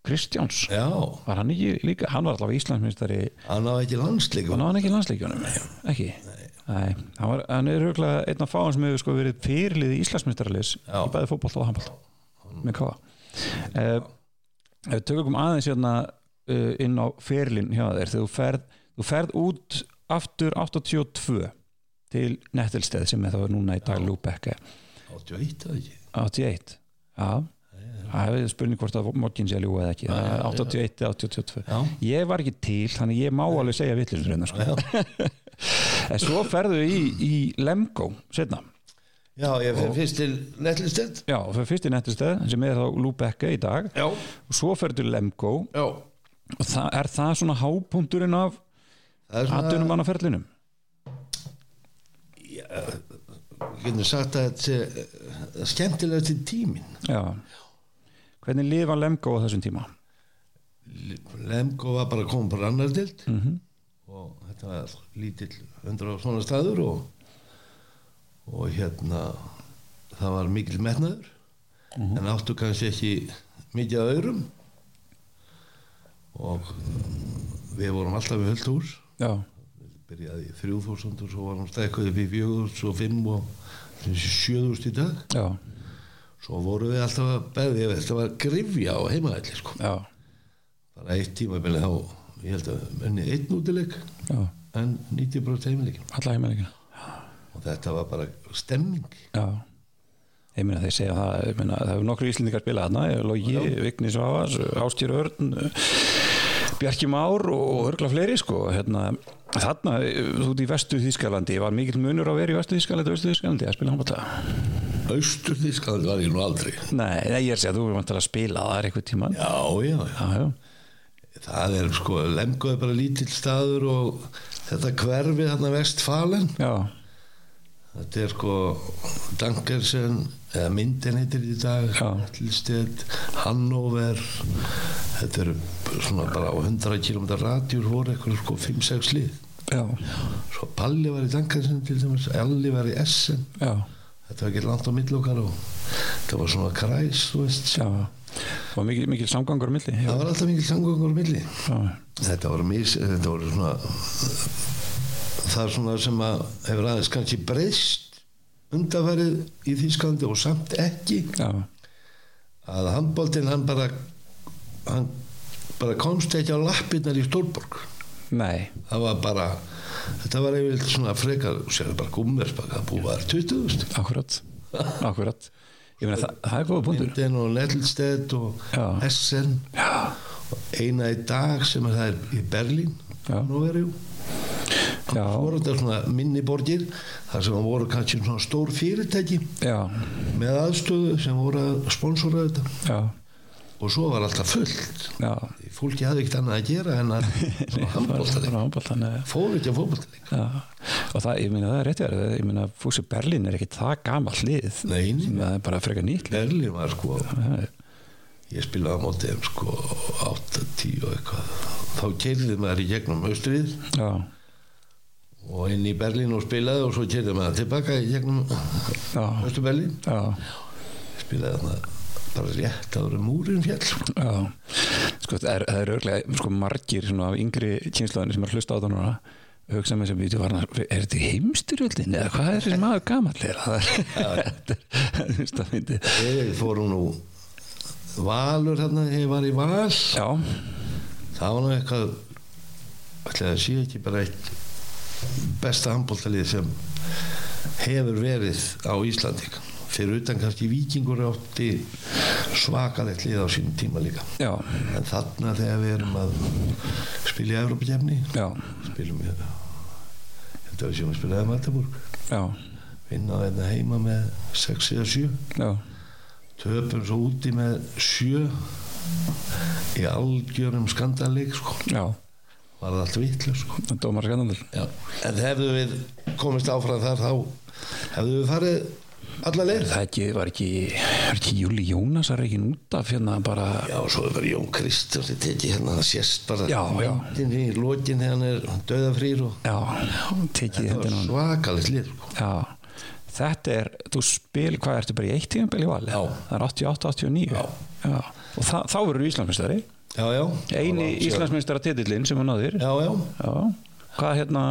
Kristjáns, já, var hann ekki líka Hann var allavega Íslandsminnstari hann á ekki landsleik Hann var ekki í landsleikjunum, ekki? Nei. Hann, var, hann er huglega einn af fáum sem hefur sko verið fyrirlið í Íslandsmyndarleis í Já. Eh, bæði fótboll og handboll með káa. Uh, Ef við tökum aðeins hérna uh, inn á ferlinn hjá þér þegar þú ferð, þú ferð út aftur 82 til Nettelsteð sem er þá núna í dag Lúbekka 81 eða ekki 81 Já, það hefur spurning hvort að morgin sé að ljúga eða ekki Það er 81 eða 82 Já. Ég var ekki til, þannig ég má alveg segja vitlisur hennar sko. (laughs) En svo ferðu í, í Lemgo setna Já, ég fyrir fyrst til Nettlistend Já, og fer fyrst í Nettelsteð sem er þá Lúbekka í dag Já, og svo ferðu til Lemgo já og það, er það svona hápunkturinn af Það er svona, atunum annaferlinum við getum sagt að þetta er skemmtilegt til tíminn Já Hvernig lifa Lemko á þessum tíma? Lemko var bara að koma bara annar dild -hmm. og þetta var lítill 100 svona staður og, og hérna það var mikil metnaður en áttu kannski ekki mikið að aurum og við vorum alltaf við höllt hús Já, byrjaði í 3000 og svo varum stækkuð upp í 4000 og 5 og 7000 í dag já, svo vorum við alltaf að beðja þetta var grifja á heimaðalli sko já, bara eitt tímabili þá ég held að unni einn útileik já en 90 brot heimileikin Alla heimilegina og þetta var bara stemming Já Ég meina þeir segja það, ég meina það hefur nokkru íslendingar spilað þarna, ég er Logi, Vigni Svavas, Ástýr Örn, Bjarki Már og örgla fleiri sko, hérna, þarna, þú ert í vestu Þískalandi, var mikill munur að vera í vestu Þískalandi og vestu Þískalandi að spila handbólta? austur þískaðan var ég nú aldrei Nei, nei, ég er að segja, þú erum vantilega að spila það er eitthvað tíman. já, já, já Já, já, það er sko, Lemko er bara lítill staður og þetta hverfi þarna vestfalen já, þetta er sko Dankersen, eða myndin heitir í dag Já. Hallstedt, Hannover þetta eru svona bara á 100 km radjur voru eitthvað sko 5-6 lið já, svo Palli var í Dankersen til dæmis Elli var í Essen já, þetta var ekki langt á milli okkar og þetta var svona kræs þú veist já, og mikil, mikil samgangur á milli, já, það var alltaf mikil samgöngur á milli já. þetta voru mis þetta voru svona það er svona sem að hefur aðeins kannski breyst undarverið í Þýskalandi og samt ekki Já, að handbóltinn hann bara hann bara komst ekki á lappirnar í Stórborg nei, það var bara þetta var eiginlega svona frekar sérðu bara gummersbaka að búa þar 20 veist. akkurat Akkurat Ég meina, það, það er góða búndur Linden og Nettelstedt og Já. Essen og eina í dag sem er það er í Berlín Já. nú verið Já, voru þetta svona minni borgir þar sem voru kannski svona stór fyrirtæki já, með aðstöðu sem voru að sponsora þetta já, og svo var alltaf fullt já fólki hafði ekkert annað að gera (laughs) en að handbóltaði, Handbóltan fóru ekki að fótbóltaði Og það, ég meina, það er rétt verið Ég meina, Fúsi Berlín er ekkit það gamall lið Nei, nei. Sem Það er bara frekar nýtt lið Berlín var sko Það er- ég spilaði á móti þeim sko 8-10 og eitthvað þá keirði maður í gegnum austrið Já, og inn í Berlín og spilaði og svo keirði maður tilbaka í gegnum já, Östu Berlín já, spilaði þarna bara rétt áður en múrin fjall já Sko, það er, það er örglega sko, margir svona af yngri kynslaðinu sem er að hlusta á það núna hugsa með sem býtu varna er þetta í heimstyrjöldin eða hvað er þessi maður gamall er það er (laughs) þetta er fyrsta myndi ég fór nú valur þarna þegar ég var í val já, það var nú eitthvað ætlaði að sé ekki bara eitt besta handbóltalið sem hefur verið á Íslandi fyrir utan kannski vikingur átti svakalegt lið á sínum tíma líka já, en þarna þegar við erum að spila í Evrópakefni já spilum við þetta var sem við spilaði Mataburg Já, vinna þetta heima með 6 eða 7 já, töpum svo úti með 7 í algjörum skandaleik sko já, var það allt vitlu sko það dómar skandandil Já. En hefðu við komist áfram þar þá hefðu við farið alla leið. Það ekki, var ekki, var ekki Júli Jónas er ekki út af hérna bara Já, og svo er verið Jón Kristján sem tekið hérna það sést bara Já, já. myndin í lokin þegar hann er döðafrýr og Já, tekið það hendur var hann svakalegt lið. sko. Já, þetta er, þú spil, hvað ertu bara í eitt tíðanbel í vali? Já. Það er 88-89 Já Já, og þa þá verður Íslandsmeistari Já, já. Eini Já, Íslandsmeistara titillinn sem hann náðir Já, já. Já Hvað hérna,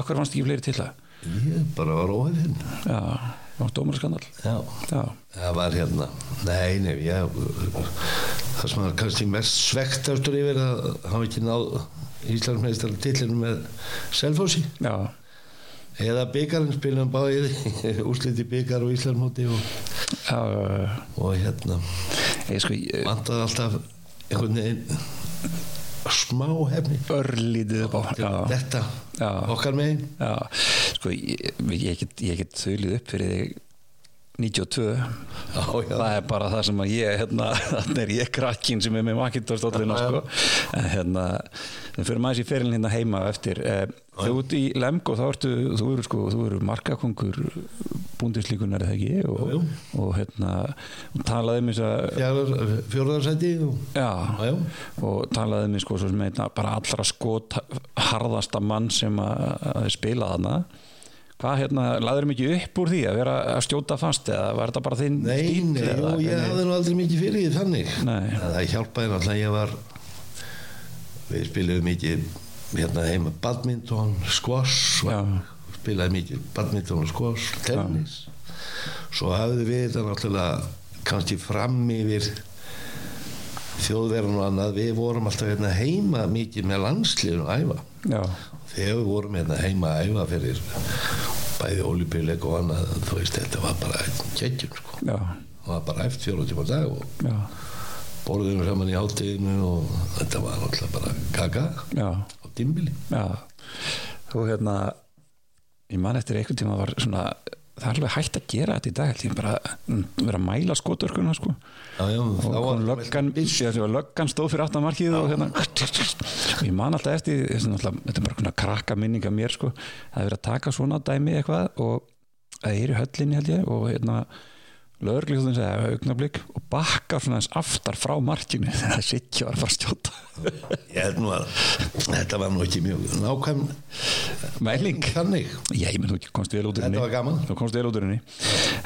akkur fannst ekki fleiri titla? Ég bara var óhefinn. Já, það var dómar skandal Já. Já, Það var hérna, nei, nei, ég það sem er kannski mest svektastur yfir að hafa ekki náð Íslandsmeistar tillinu með Selfossi já, eða byggarinn spilum (laughs) báðið úsliti byggar og Íslandsmóti og, já, já, já. og hérna Ég sko, ég- vantaði alltaf einhvern veginn smá hefni örlítið upp á já, þetta Já. okkar megin já, sko ég, ég get, ég get þaulið upp fyrir þig 92 já, já. það er bara það sem að ég hérna, (laughs) þannig er ég krakkin sem er með makintórstóllina Já, já. sko. en hérna við fyrir maður í ferilin hérna heima á eftir Eh, þegar út í Lemgo þá ertu þú eru sko, þú eru markakongur búndinslíkunar eða ekki og, Jú, jú. og hérna talaði um þess að Fjarar- fjórðarsæti og Já, Já, já. og talaði mér sko svo sem einna bara allra skot harðasta mann sem að að spilaði hana hvað hérna, laður mikið upp úr því að vera að stjóta fast eða var þetta bara þinn Nei, stíll nei, eða? og ég hafði nú aldrei mikið fyrir því þannig Nei. En Það hjálpaði náttúrulega ég var Við spilaðum mikið hérna heima badminton, squash Já. Spilaði mikið badminton og squash, tennis Svo hafði við þetta náttúrulega kannski fram yfir þjóðverðan og annað Við vorum alltaf hérna heima mikið með landsliðun og æfa Já, Þegar við vorum hérna heima að æfa fyrir bæði olípileg og annað Þú veist, þetta var bara geggjum sko já, og það bara eftir fjóru tíma á dag og já, borðum saman í hátíðinu og þetta var náttúrulega bara kaka já, á dimbili já þú hérna ég man eftir einhvern tíma var svona það er alveg hægt að gera þetta í dag held ég bara mm, vera að mæla skotörkuna sko já, já, og þá var kom löggan, síðan sem var löggan stóð fyrir aftamarkið og hérna og ég man alltaf eftir, þessi náttúrulega- þetta er bara svona krakka minning af mér sko, það er verið að taka svona dæmi eitthvað og það er í höllinni held ég og hérna lögurlíkjóðin segja augnablík og bakkar svona eins aftar frá markinu (laughs) þegar það sikki var að fara að stjóta ég held nú að þetta var nú ekki mjög nákvæm mæling þannig Já, ég menn þú ekki komst vel út úr henni Þetta var gaman. Þú komst vel út úr henni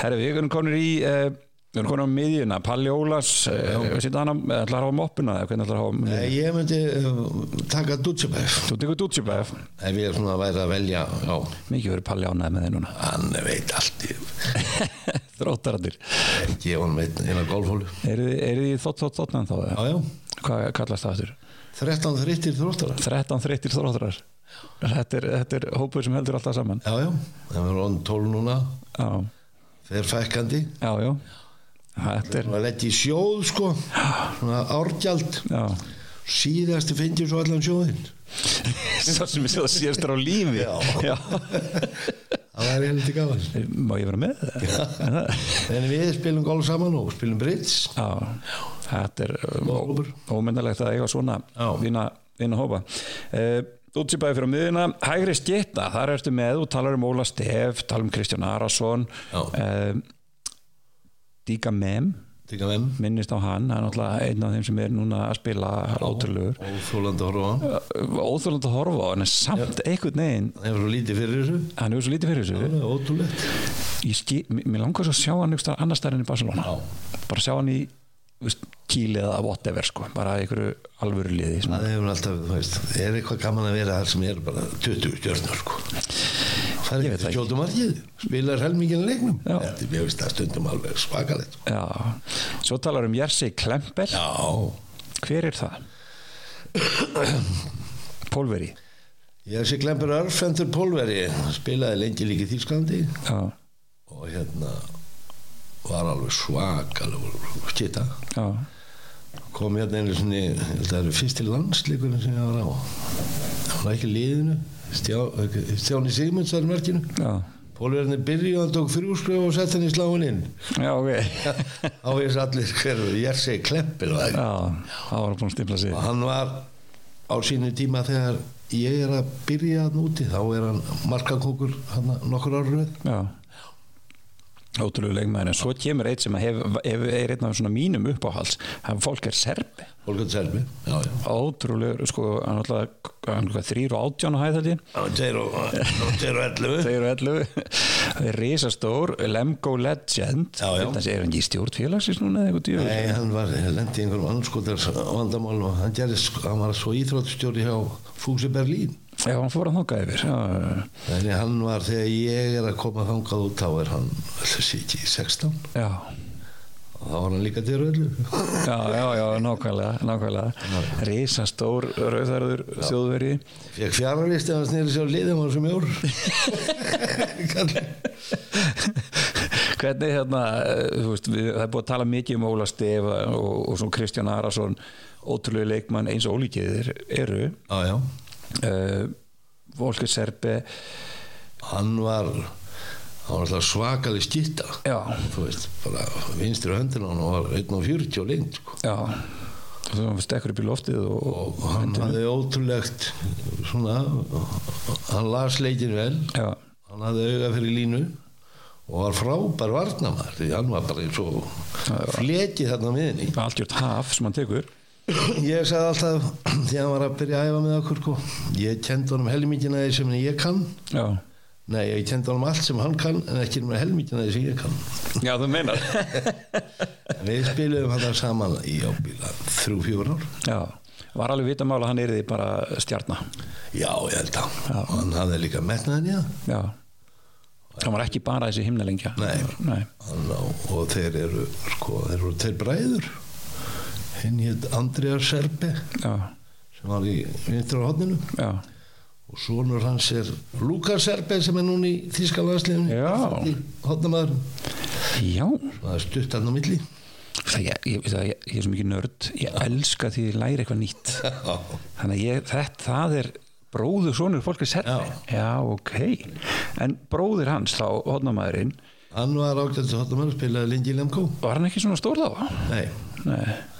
Herra, við erum konur í uh, Við erum konur á miðjuna Palli Ólas uh, Sitt hann að ætlar að hafa moppuna eða hvernig ætlar að hafa Eh, miðjuna? ég myndi eh, taka Dutchebæf Þú tekur dútsjöpæf ef ég er svona að væri að velja já, Mikið verið Palli ánæði með þeir núna hann veit allt ég Þróttarandir gef honum einn eina golfhólu Eru þið- eru þið þótt þótt þótt en þá eða? já, já, Hvað kallast það þurr? 13 þrittir þróttara 13 þreyttir þróttarar þetta er, þetta er hópur sem heldur alltaf saman já, já, það var onn 12 núna Já, fer fækkandi já, já Þetta er, og letti í sjóð sko svona árgjald já (laughs) síðast fengjum svo allan sjóðinn Svo sem ég sé það síðastur á lífi Já. já. það var heldur gaman Má ég vera með það? en við spilum golf saman og spilum bridge Já, þetta er Hópur. ómyndalegt að eiga svona Já. vinna, vinna hópa uh, Útsýpaði fyrir á miðuna, hægri skita þar ertu með og talar um Óla Stef talar um Kristján Arason Já. uh, Díka Mem Digga venn minnist á hann, hann er náttúrulega einn af þeim sem er núna að spila átrúlegur og þólandi horfa á hann óþjóðland að horfa á hann en samt einhvern veginn, það er svo lítið fyrir þessu hann er svo lítið fyrir þessu það er ótrúlegt ég skil, mér mér langar svo að sjá hann einhvers staðar annars staðar enn í Barcelona bara sjá hann í þú veist, Kíli eða whatever sko, bara í einhverju alvöru liði sem, það hefur alltaf, þú veist, það er eitthvað gaman að vera þar sem er bara 20 stjörnur sko það er Ég veit það ekki ekki. kjóldum margið spilar helmingin leiknum Já. þetta er mjög veist að stundum alveg svakalegt sko. já, svo talar um Jersey Klempel, já hver er (coughs) það? Pólveri ég sé glempur Örfendur Pólveri spilaði lengi líki Þýsklandi já, og hérna var alveg svakalega skita já, kom hérna einu svona ég held að það eru fyrsti landsleikurinn sem ég var á hann var ekki í liðinu Stjá, Stjáni Sigmunds var í merkinu já Pólverðinni byrjuði hann tók þrjúskröf og sett hann í sláin inn (laughs) já, ok þá veist allir hverfur ég segi kleppir og það já, það var búin að stifla sig og hann var á sínu tíma þegar ég er að byrja hann úti þá er hann markakókur hann nokkur árið já ótrúlegu leikmaður, en svo kemur eitt sem hef, hef, er einn af svona mínum uppáhalds hann fólk er serbi Volkan Selmi já, já ótrúlegur, sko, hann alltaf þrýr og átján á hæð held ég Það var tveir og- það var tveir og ellefu þeir eru (laughs) ellu risastór, Lemgo Legend Já, já. Þetta sé, er hann ekki í stjórn félagsins núna eða eitthvað djöfur Nei, hann var, lendi einhverjum anskotar vandamál og hann, gerði, sk- hann var svo íþróttustjóri hjá Fúsi Berlín já, hann fór að þangað yfir já, þannig hann var þegar ég er að koma þangað út þá er hann, þessi ekki, 16 já, og og þá var hann líka til röllu já, já, já, nákvæmlega, nákvæmlega risastór rauðarður þjóðveri fekk fjarrarist ef hann snýri sér á liðum og sem jór Kallinn. (laughs) hvernig hérna, eh, þú veist, við, það er búið að tala mikið um Óla Stefa og, og svo Kristján Arason ótrúlega leikmann eins og ólíkiðir eru já, já. uh, Volker Serbe hann var hann var alltaf svakalig skýtta já, þú veist, bara vinstri höndin hann var 1.40 og lind sko. já þú stekkur upp í loftið og, og hann hafði ótrúlegt svona hann las leikin vel já, hann hafði auga fyrir línu og var frábær varnamar því hann var bara eins og flekið þarna miðinni algjört haf sem hann tekur (clears throat) ég sagði alltaf (clears throat) því hann var að byrja að æfa með okkur sko. ég kendi honum helmingina því sem ég kann já, nei, ég kendi honum allt sem hann kann en ekki með helmingina því sem ég kann já þú meinar En við spilum hann saman í ábíla þrjú, fjór ár (laughs) já, var alveg vitamál að hann er því bara stjarna já, ég held að og hann hafði líka metnaðin í það já hann var ekki bara þessi himnalengja Nei. Nei. Hann á, og þeir eru sko, þeir eru þeir bræður hinn hétt Andriðar Serbi já, sem var í vinstra hodninu já, og sonur hans er Lukas Serbi sem er núna í þíska landsliðinu Já. hodnamaður já. það er stutt hann á milli (laughs) Það, ég, ég, það, ég, ég er svo mikið nörd ég elska því ég læri eitthvað nýtt þannig að ég, þetta, það er bróður sonur fólkið serfi já. ok, en bróðir hans þá, hodnamaðurinn, hann var ágæðast hodnamaður spilaði lengi í Lemko var hann ekki svona stór þá? nei, Nei,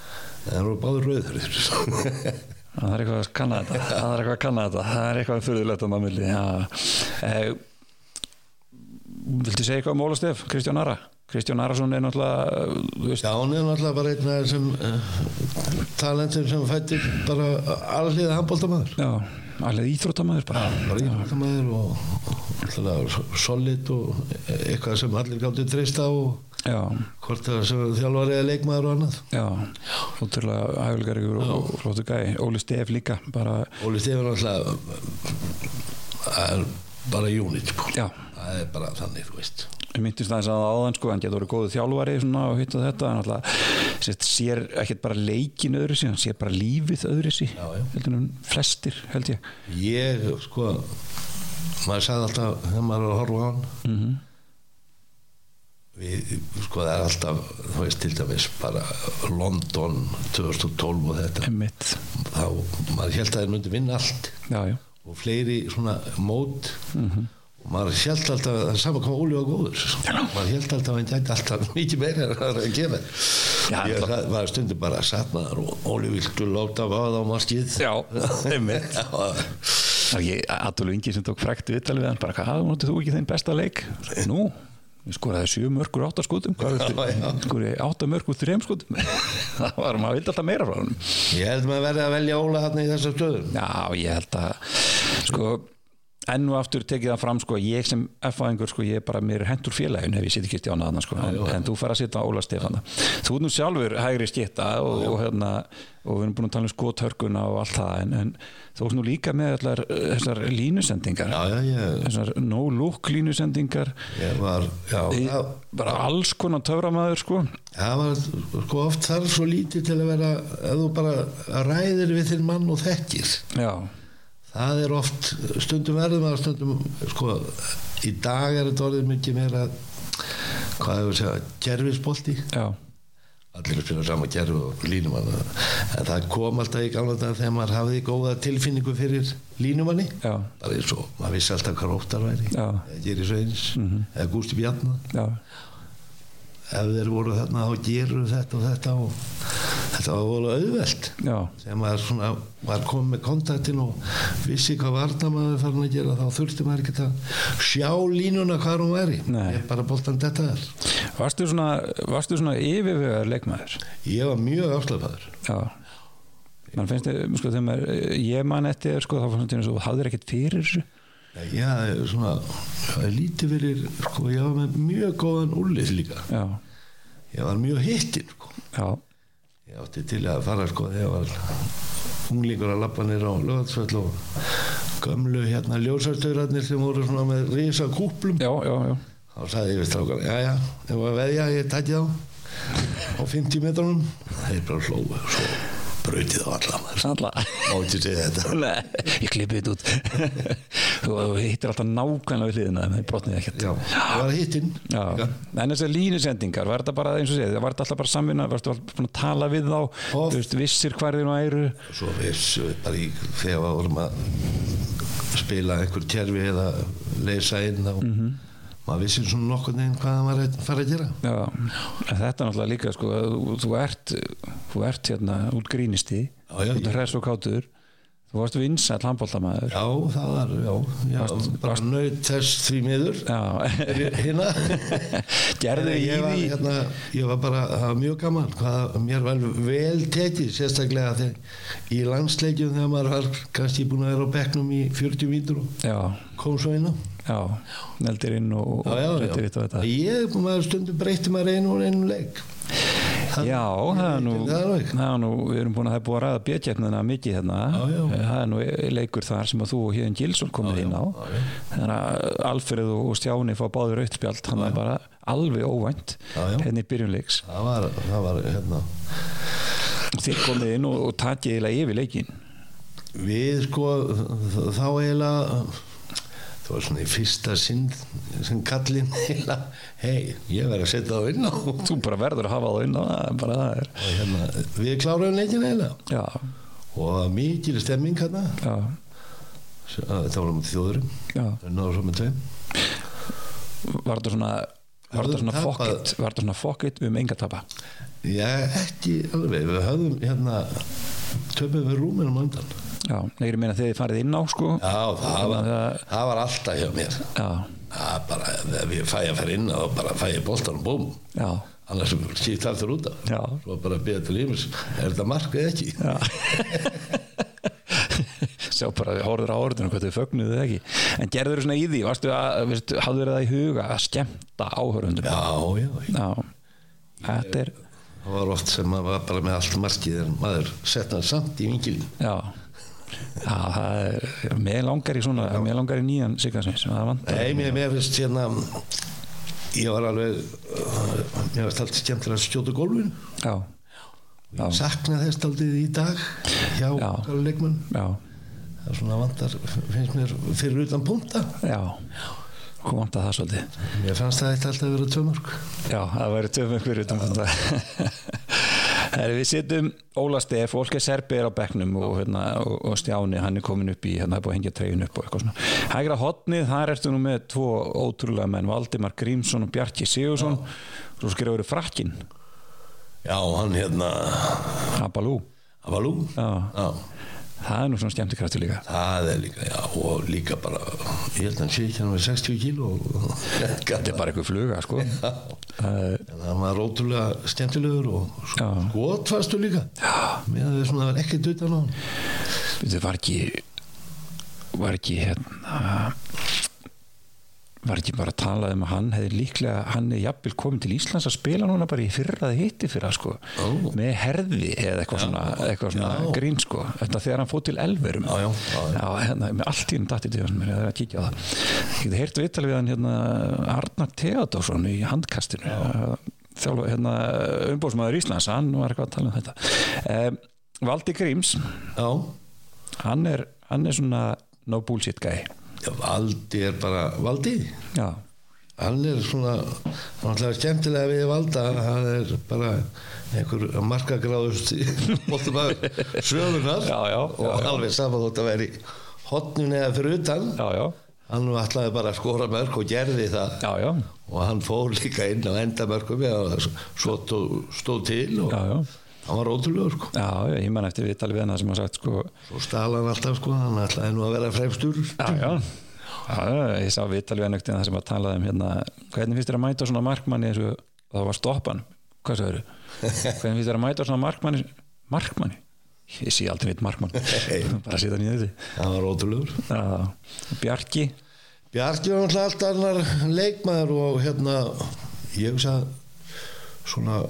það eru báður rauður það er eitthvað að kanna þetta það er eitthvað að kanna þetta, það er eitthvað að furðulegt að maður milli, já eh, Viltu segja eitthvað um Ólastef, Kristján Ara? Kristján Arason er náttúrulega eh, þú veist, (laughs) Já, hann er náttúrulega bara einn af þessum uh, talentum sem fættir bara alliða handbóltamaður já, alveg íþróttamaður bara bara íþróttamaður og náttúrulega solid og eitthvað sem allir gáttu treysta á og Já, hvort það sem þjálfari eða leikmaður og annað já, ótrúlega hægulegaríkur og, og flóttu gæi, Óli Stef líka bara, Óli Stefán náttúrulega það er bara unit sko. já, það er bara þannig, þú veist Ég myndist aðeins að áðan sko, hann getur verið góðu þjálfari svona, og hitt og þetta, en alltaf sett, sér ekkert bara leikin öðru sér, hann sér bara lífið öðru sér, Já, já. heldur en flestir, held ég. ég, sko maður sagði alltaf þegar maður er að horfa á hann Mm -hmm. við, sko það er alltaf þú veist til dæmis bara London 2012 og þetta Emmitt, þá maður held að þeir myndi vinna allt já, já, og fleiri svona mót og maður held alltaf að það er sama koma Óli og góður sko. maður held alltaf að hann gæti alltaf mikið meira en það er að gera Já, ég það- það... var stundum bara að satnaðar og Óli viltu láta vaða á maskið Já, (laughs) einmitt það er ég, Adolf Ingi sem tók frækt viðtalið við hann, bara hvað, notið þú ekki þinn besta leik? Nú, ég skoraði sjö mörgur átta skotum, hvað Já, já. viltu? Skoraði átta mörgur þrem skotum, (laughs) það var, maður vildi alltaf meira frá hann. ég held maður verði að velja Óla þarna í þessar stöðum Já, ég held að sko, enn og aftur tekið það fram sko, ég sem F-aðingur, sko, ég er bara mér er hentur félagin ef ég sitt ekki stjána þarna sko, en, en þú fara að sitja á Óla Stefana þú ert nú sjálfur hægri skitta og, og, hérna, og við erum búin að tala um skothörkuna og allt það, en, en þú ert nú líka með allar, eh, þessar línusendingar já já ég, þessar no-look línusendingar ég var já, Í- það, bara alls konar töframæður sko það var sko oft þar svo lítið til að vera ef þú bara ræðir við þinn mann og þekkir já, það er oft stundum verðum að stundum sko, í dag er þetta orðið mikið meira hvað hefur að segja, gerfisbolti já, allir spila saman gerfi og línumann en það kom alltaf í gamla dag þegar maður hafði góða tilfinningu fyrir línumanni já, bara eins og maður vissi alltaf hvað róttar væri Já. Mhm. eða Geri Sveins, eða Gústi Bjarnar já, ef þeir voru þarna þá geru þetta og þetta og þetta var voru auðvelt já sem var, svona, var komið með kontaktin og vissi hvað varna maður farin að gera þá þurfti maður ekki að sjá línuna hvað hún væri Nei. ég bara boltan þetta þar varstu svona, varstu svona yfirvegar leikmaður ég var mjög afslöpaður Já Man finnst þið, sko, þegar maður, ég man eftir sko, þá fannst þið eins og þú hafðir ekkert fyrir þessu ég hafði svona ég hafði lítið fyrir sko, ég var með mjög góðan úrlið líka Já, ég var mjög hittin sko. já, ég átti til að fara sko þegar ég var unglingur að lappa nýra á lögatsvöll og gömlu hérna ljósarstaurarnir sem voru svona með risa kúplum já, já, já þá sagði ég við strákar, já já, ef að veðja, ég tætti þá á 50 metrunum það er bara hlóðu og svo brautið á alla maður Alla. mátti segja þetta Nei, ég klippi þetta út (laughs) þú, þú hittir alltaf nákvæmlega við hliðina það brotnið ekkert já, það var hittinn Já. En þessar línusendingar, var þetta bara eins og segið, var þetta alltaf bara samvinna, varstu alltaf búin að tala við þá, Oft. þú veist, vissir hvar þeir nú æru? svo vissu við bara í þegar við vorum að spila einhver tjerfi eða leysa inn á Mhm. maður vissi svona nokkur neginn hvað það var að fara að gera Já, en þetta er náttúrulega líka, sko, að þú, þú ert, þú ert hérna út grínisti, Já, já, þú ert ég- hress og kátur, þú varst vinsall handbóltamaður. já, það var, já, já bara nöyt þess því miður (laughs) Já, hérna gerðu (laughs) Ég- í ég var, því, hérna, ég var bara, það var mjög gaman hvað mér var vel tekið sérstaklega þegar í landsleikjum þegar maður var kannski búin að vera á bekknum í 40 mítur og já, kom svo inn á já, neldir inn og, og reytir þetta og þetta. ég maður stundum breytti maður einu og einu leik Það- Já, það er nú, Ég veit það alveg. það er nú, við erum búin að það er búið að ræða bjöðkjöfnina mikið hérna, Já, já. það er nú e- leikur þar sem að þú og Hjöðin Gilsson komið inn á, þannig að Alfreð og Stjáni fá báður auðspjald, þannig að bara alveg óvænt, Já, já. hérna í byrjunleiks, það var, það var hérna þeir komið inn og, og takið eiginlega yfir leikin, við sko þ- þá eiginlega það var svona í fyrsta sinn sem kallinn eiginlega hei, ég verð að setja það inn á og þú bara verður að hafa það inn á, það er bara það er, hérna, við kláruðum leikin eiginlega já, og það var mikil stemming hérna já, þetta var um þjóðurum já, það náður svo með tveim var þetta svona, var Höfðum þetta svona tapað. fokkitt, var þetta svona fokkitt um enga tapa, já, ekki alveg, við höfðum hérna töfum við rúminum andan já, nei, ég meina þegar þið farið inn á, sko, já, það var, Það- það var alltaf hjá mér já, það bara, ef ég fæ að fara inn þá bara fæ ég boltan og búm já. annars skýtt alltaf út af Já. (laughs) svo bara beða til yfir er þetta mark eða ekki Já. Sjá bara, við horfður á orðinu hvað þau fögnuðu þið ekki En gerður þau svona í því, varstu að, veist, hafður það í huga að skemmta áhörundum já, já, þetta er, það var oft sem maður var bara með allt markið en maður setna samt í vingilin já Já, það er, mér langar í svona, mér langar í nýjan Siggarsveins, það vantar Nei, mér mér finnst hérna ég var alveg uh, mér finnst alltaf skemmtilega að skjóta gólfin Já, Já. sakna þess aldrei í dag hjá Já. okkar leikmenn já, það er svona vantar, finnst mér fyrir utan punta já Hvað vantar það svolítið? mér fannst það eitt alltaf að vera tömörk Já, það væri töfum einhverju utan þetta (laughs) Herri, Við setjum Óla Stef, Olke Serbi er á bekknum og, hérna, og, og Stjáni, hann er komin upp í hérna er búið að hengja treyjun upp og eitthvað svona Hægra hotnið, þar ertu nú með tvo ótrúlega menn, Valdimar Grímsson og Bjarki Sigursson svo skrifur þau frakkin, já, hann hérna Abalú Avalú Já. Já, Það er nú svona skemmtikraftur líka það er líka, já, og líka bara ég held að hann sé ekki hann með 60 kíló Þetta er bara eitthvað fluga, sko Það er- en hann var ótrúlega skemmtilegur og Já. skotfastu líka já. með að það er svona, það var ekkert utan á hann Þetta var ekki var ekki hérna var ekki bara að tala um að hann hefði líklega, hann er jafnvel komið til Íslands að spila núna bara í fyrra að hitti fyrra sko, Ó. með herði eða eitthvað svona, eitthvað svona Já. grín sko, þetta þegar hann fótt til elverum Já, já, já, já. hérna, með allt í um datti til þessum, það er að kíkja á það ég geti heyrt viðtal við hann hérna Arnar Theodorsson í handkastinu þjálfa, hérna umbóðsmaður Íslands, hann var eitthvað að tala um þetta um, Valdi Gríms já, hann er, hann er svona no bullshit guy Já, Valdi er bara Valdi já, hann er svona náttúrulega skemmtilega við Valda hann er bara einhver markagráðust bóttumæður sögunar Já, já, já, og já. alveg saman þótt að veri hotnun eða fyrir utan já, já, hann ætlaði bara að skora mörg og gerði það já, já, og hann fór líka inn á endamörgum eða svo tó, stóð til og já, já. hann var ótrúlegur sko. Já, já, ég man eftir viðtal við hana sem hann sagt sko, svo stala hann alltaf sko, hann ætlaði nú að vera fremstur já, já, já, já, ég sá viðtal við hana eftir það sem að talaði um hérna, hvernig finnst þér að mæta svona markmanni eins og það var stoppan, hvað sagður (laughs) hvernig finnst þér að mæta svona markmanni markmanni, ég sé aldrei neitt markmann bara sita nýðið því hann var ótrúlegur já, Bjarki Bjarki var náttúrulega allt annar leikmaður og hérna ég hugsa svona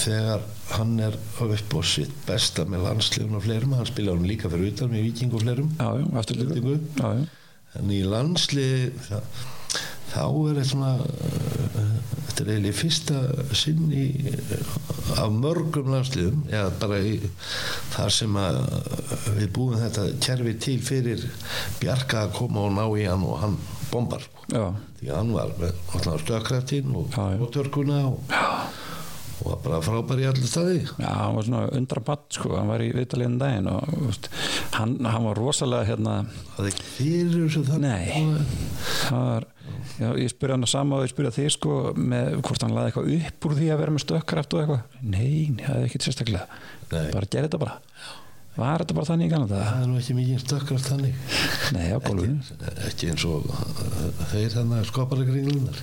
þegar hann er upp á sitt besta með landsliðun og fleirum hann spila hann líka fyrir utan með viking og fleirum já, já, aftur líka Vikingu. já, já, en í landslið þá er þetta svona eh, þetta þetta er eiginlega í fyrsta sinn í, af mörgum landsliðum eða bara í, þar sem að eh, við búum þetta kerfi til fyrir Bjarka að koma og ná í hann og hann bombar sko. já, því að hann var með stökkrættin og, Já, já. og törkuna og, og var bara frábær í allir staði já, hann var svona undrabatt sko, hann var í viðtalíðan daginn og þú veist, hann, hann var rosalega hérna, það er ekki fyrir þessu þannig Nei. það var já, ég spurði hann að sama og ég spurði að þig sko með hvort hann laði eitthvað upp úr því að vera með stökkraft og eitthvað, nei, það er ekkit sérstaklega Nei. bara gerði þetta bara var þetta bara þannig í ganlega það er nú ekki mikið stökkrætt þannig nei, á gólfinu ekki eins og uh, þeir þannig að skopara kringlunar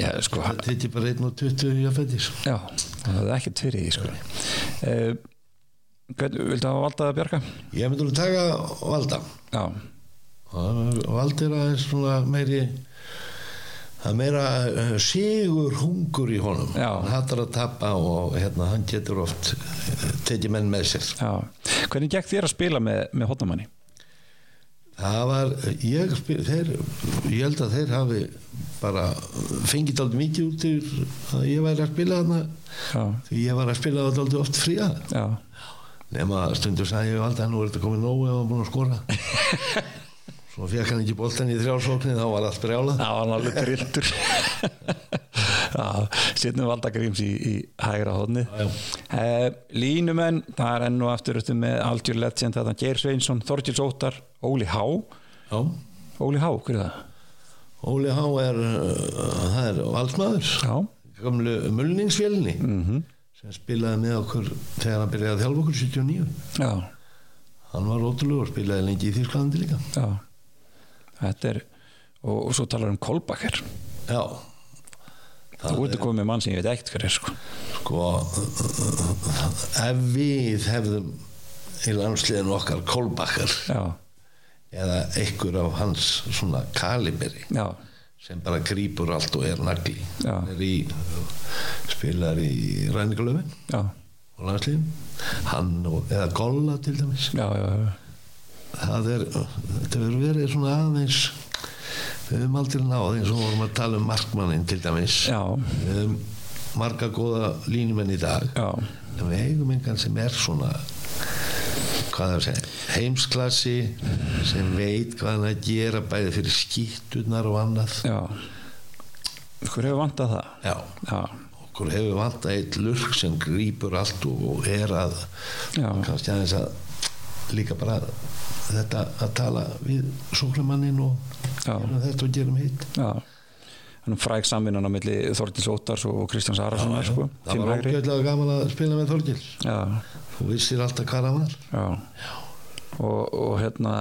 já, sko, það tekir bara einn og 20 í að fættis Já, það er ekkert fyrir því sko. uh, Hvernig, viltu hafa valdað að bjarga? ég myndi að taka valda Já, og valda er aðeins svona meiri það er meira uh, sigur hungur í honum Já. hann hattar að tappa og hérna, hann getur oft uh, tekið menn með sér já Hvernig gekk þér að spila með, með hotnamanni? það var ég, spil- þeir, ég held að þeir hafi bara fengið aldrei mikið út til að ég væri að spila þarna Já, því ég var að spila það aldrei oft frí að já, nema stundu sagði ég við Valda nú er þetta komið nógu ef hann búin að skora (laughs) svo fekk hann ekki boltan í þrjálsóknin þá var allt brjála það var alveg (laughs) grilltur Já, setnum valdað gríms í, í hægra hotni já. uh, Línumenn, það er enn og aftur þetta með Algjör Legend, þetta Geir Sveinsson, Þorgils Óttar Óli Há, já. Óli Há, hver er það? Óli Há er uh, það er valdsmaður Já, gamlu mulningsfélni Mhm. -hmm. sem spilaði með okkur þegar hann byrjaði að þjálfa okkur 79 já, hann var ótrúlega og spilaði lengi í Þýsklandi líka já Þetta er, og, og svo talar um Kolbakker já, Þú ert að koma með mann sem ég veit ekkert hver er sko. sko ef við hefðum í landsliðinu okkar Kolbakkar Já, eða einhver af hans svona kaliberi já, sem bara grýpur allt og er nagli Já. Hann er í, spilar í ræningalöfin já, og landslíðin hann og, eða Golla til dæmis já, já, já. það er, þetta verður verið svona aðeins við höfum aldrei náð eins og vorum að tala um markmannin til dæmis Já, við höfum marga góða línumenn í dag já, en við eigum engan sem er svona hvað það að segja heimsklassi sem veit hvað hann að gera bæði fyrir skýttunar og annað já. Hver hefur vantað það? já Já, okkur hefur vant að eitt lurk sem grýpur allt og, og er að Já. kannski aðeins að líka bara þetta að tala við sóklamannin og Já. gerum þetta og gerum hitt já. Þannig fræk samvinnan á milli Þorgils Óttars og Kristjáns Arasonar sko. það Fimm var hægri. ógjöldlega gaman að spila með Þorgils Já, þú vissir alltaf hvað hann var já. Og, og hérna,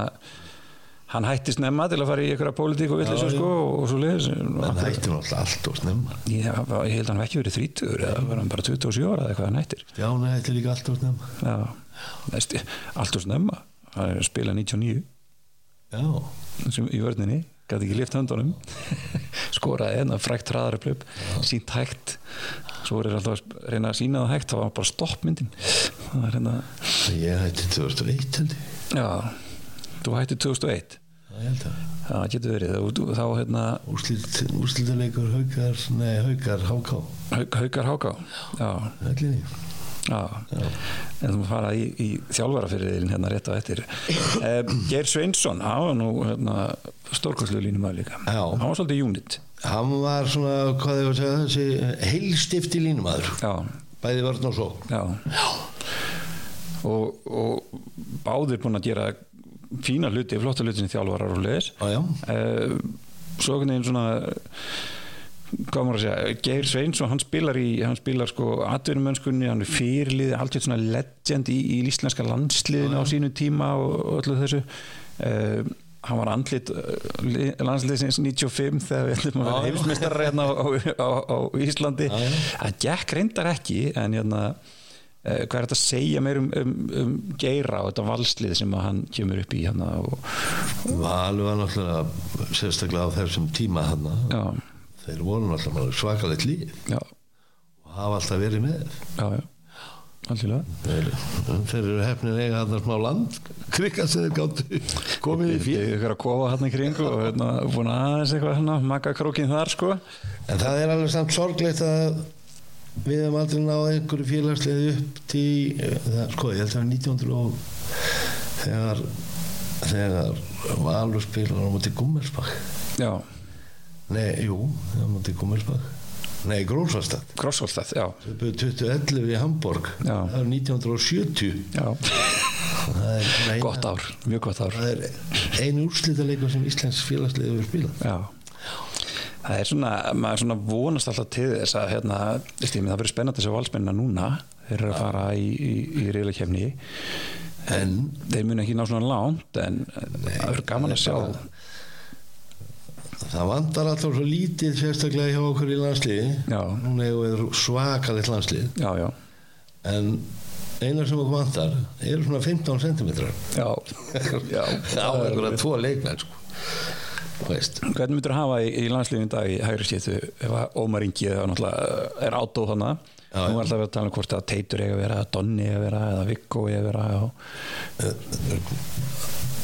hann hætti snemma til að fara í einhverja pólitík og villis Já, já. sko og svo leiðis. menn hætti náttúrulega allt og snemma Ég, ég held að hann hafi ekki verið 30 eða var hann bara 27 ára eða eitthvað hann hættir. Stjáni hætti líka allt og snemma Já, Næst, allt og snemma. Hann er að spila 99. já, sem í vörninni, gæti ekki lift höndunum (laughs) skoraði enn að frækt hraðaröflöp sínt hægt svo er alltaf að sp- reyna að sína það hægt það var bara stopp myndin það er hérna, ég hætti 2001 held ég já þú hætti 2001, Það held að það getur verið og þú- þá hérna, úrslit- úrslitaleikur haukar, nei haukar háká Hauk- haukar háká já, höllinni já en þú maður fara í, í þjálfarafyrirðin hérna rétt á eftir eh, Geir Sveinsson, hann var nú hérna, stórkostlu línum að líka Já. hann var svolítið unit Hann var svona, hvað ég var að segja, þessi heilstifti línumadur, já, bæði vörn og sók. Já. Og, og báðir búin að gera fína hluti, flotta hluti sem þjálfarar og leðis. Já, já, Uh, svo einhvern veginn svona hvað maður að segja, Geir Sveinsson hann spilar í, hann spilar sko atvinnumönskunni, hann er fyrirlið, alltaf svona legend í, í íslenska landsliðinu á sínu tíma og, og öllu þessu uh, hann var andlit eh, landsliðsins 95 þegar við ætlum að vera Já, já. heimsmeistar hérna á, á, á Íslandi Já, já. það gekk reyndar ekki en hérna eh, hvað er þetta að segja mér um, um, um Geira og þetta valslið sem að hann kemur upp í hérna og, Valur var náttúrulega sérstaklega á þessum tíma hann. já, Þeir voru náttúrulega svakalegt líf já, og hafa alltaf verið með. já, já algjörlega Þeir, þeir eru hefnir eiga þarna smá land krikka sem þeir gáttu komið í Ég fyrir er ykkur að kofa hann í kring og hérna, búin aðeins eitthvað hérna, makka krókin þar sko en það er alveg samt sorglegt að við hefum aldrei náð einhverju félagslega upp til það, sko ég held að það var 1900 og þegar þegar Valur spilar á móti Gummersbakk Já, nei, jú, á móti Gummersbakk nei, Grósvastad krossvöldstætt, já, þau byrjuðu 2011 í Hamburg Já. það er 1970 já, það er, nei, gott ár, mjög gott ár það er einu úrslítaleikur sem Íslands félagslega hefur spilað Já Það er svona, maður svona vonast alltaf til þess að hérna, veist ég, það verður spennandi þessi valsmennina núna, þeir eru að fara í, í, í reyðleikefni en þeir munu ekki ná svona langt en eh, það verður gaman að sjá Það vandar alltaf svo lítið sérstaklega hjá okkur í landsliði Já. Núna eigum við svakalitt landslið Já, (laughs) já, En eina sem okkur vandar eru svona 15 cm já, já Á einhverja tvo leikmenn sko. Þú veist. Hvernig myndur hafa í, í landsliðin í dag í hægri stéttu ef að Ómar Ingi eða náttúrulega eh, er átó hana Já, nú er alltaf verið að tala um hvort að Teitur eiga að vera, að Donni eiga að vera eða Viggo eiga að vera já,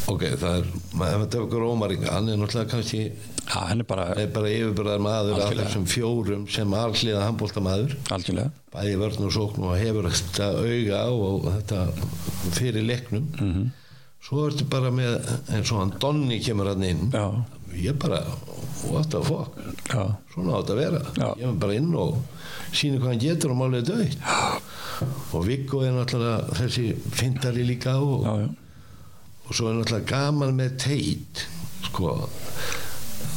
Ok, það er maður hefði okkur ómaring Hann er náttúrulega kannski Já, hann er bara er bara yfirbyrðar maður af Algjörlega. þessum fjórum sem alliða handbóltamaður algjörlega bæði vörn og sókn og hefur þetta auga á og þetta fyrir leiknum Mhm. -hmm. svo ertu bara með eins og hann Donni kemur hann inn Já, ég bara, what the fuck já, svona átt að vera Já. ég er bara inn og síni hvað hann getur og málið er döitt og Viggo er náttúrulega þessi fyndari líka og, já, já. og svo er náttúrulega gaman með teit sko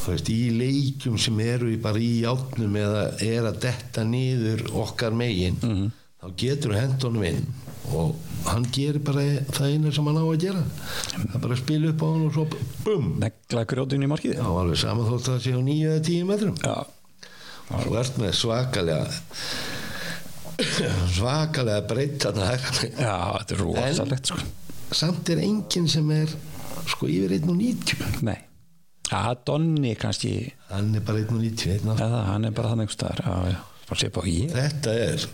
þú veist, í leikjum sem eru í bara í játnum eða er að detta niður okkar megin þá getur hendunum inn og hann gerir bara það eina sem hann á að gera það er bara að spila upp á hann og svo bum negla grjótinn í markið Já, alveg saman þótt að það sé á nýju eða tíu metrum já, Þú ert með svakalega (coughs) svakalega breytt þarna hægra megin. já þetta er rosalegt sko. samt er enginn sem er sko yfir 1.90 nei, að Donni kannski hann er bara 1.90 einn og eða hann er bara þannig einhvers staðar já, já, bara sé bara ég, þetta er,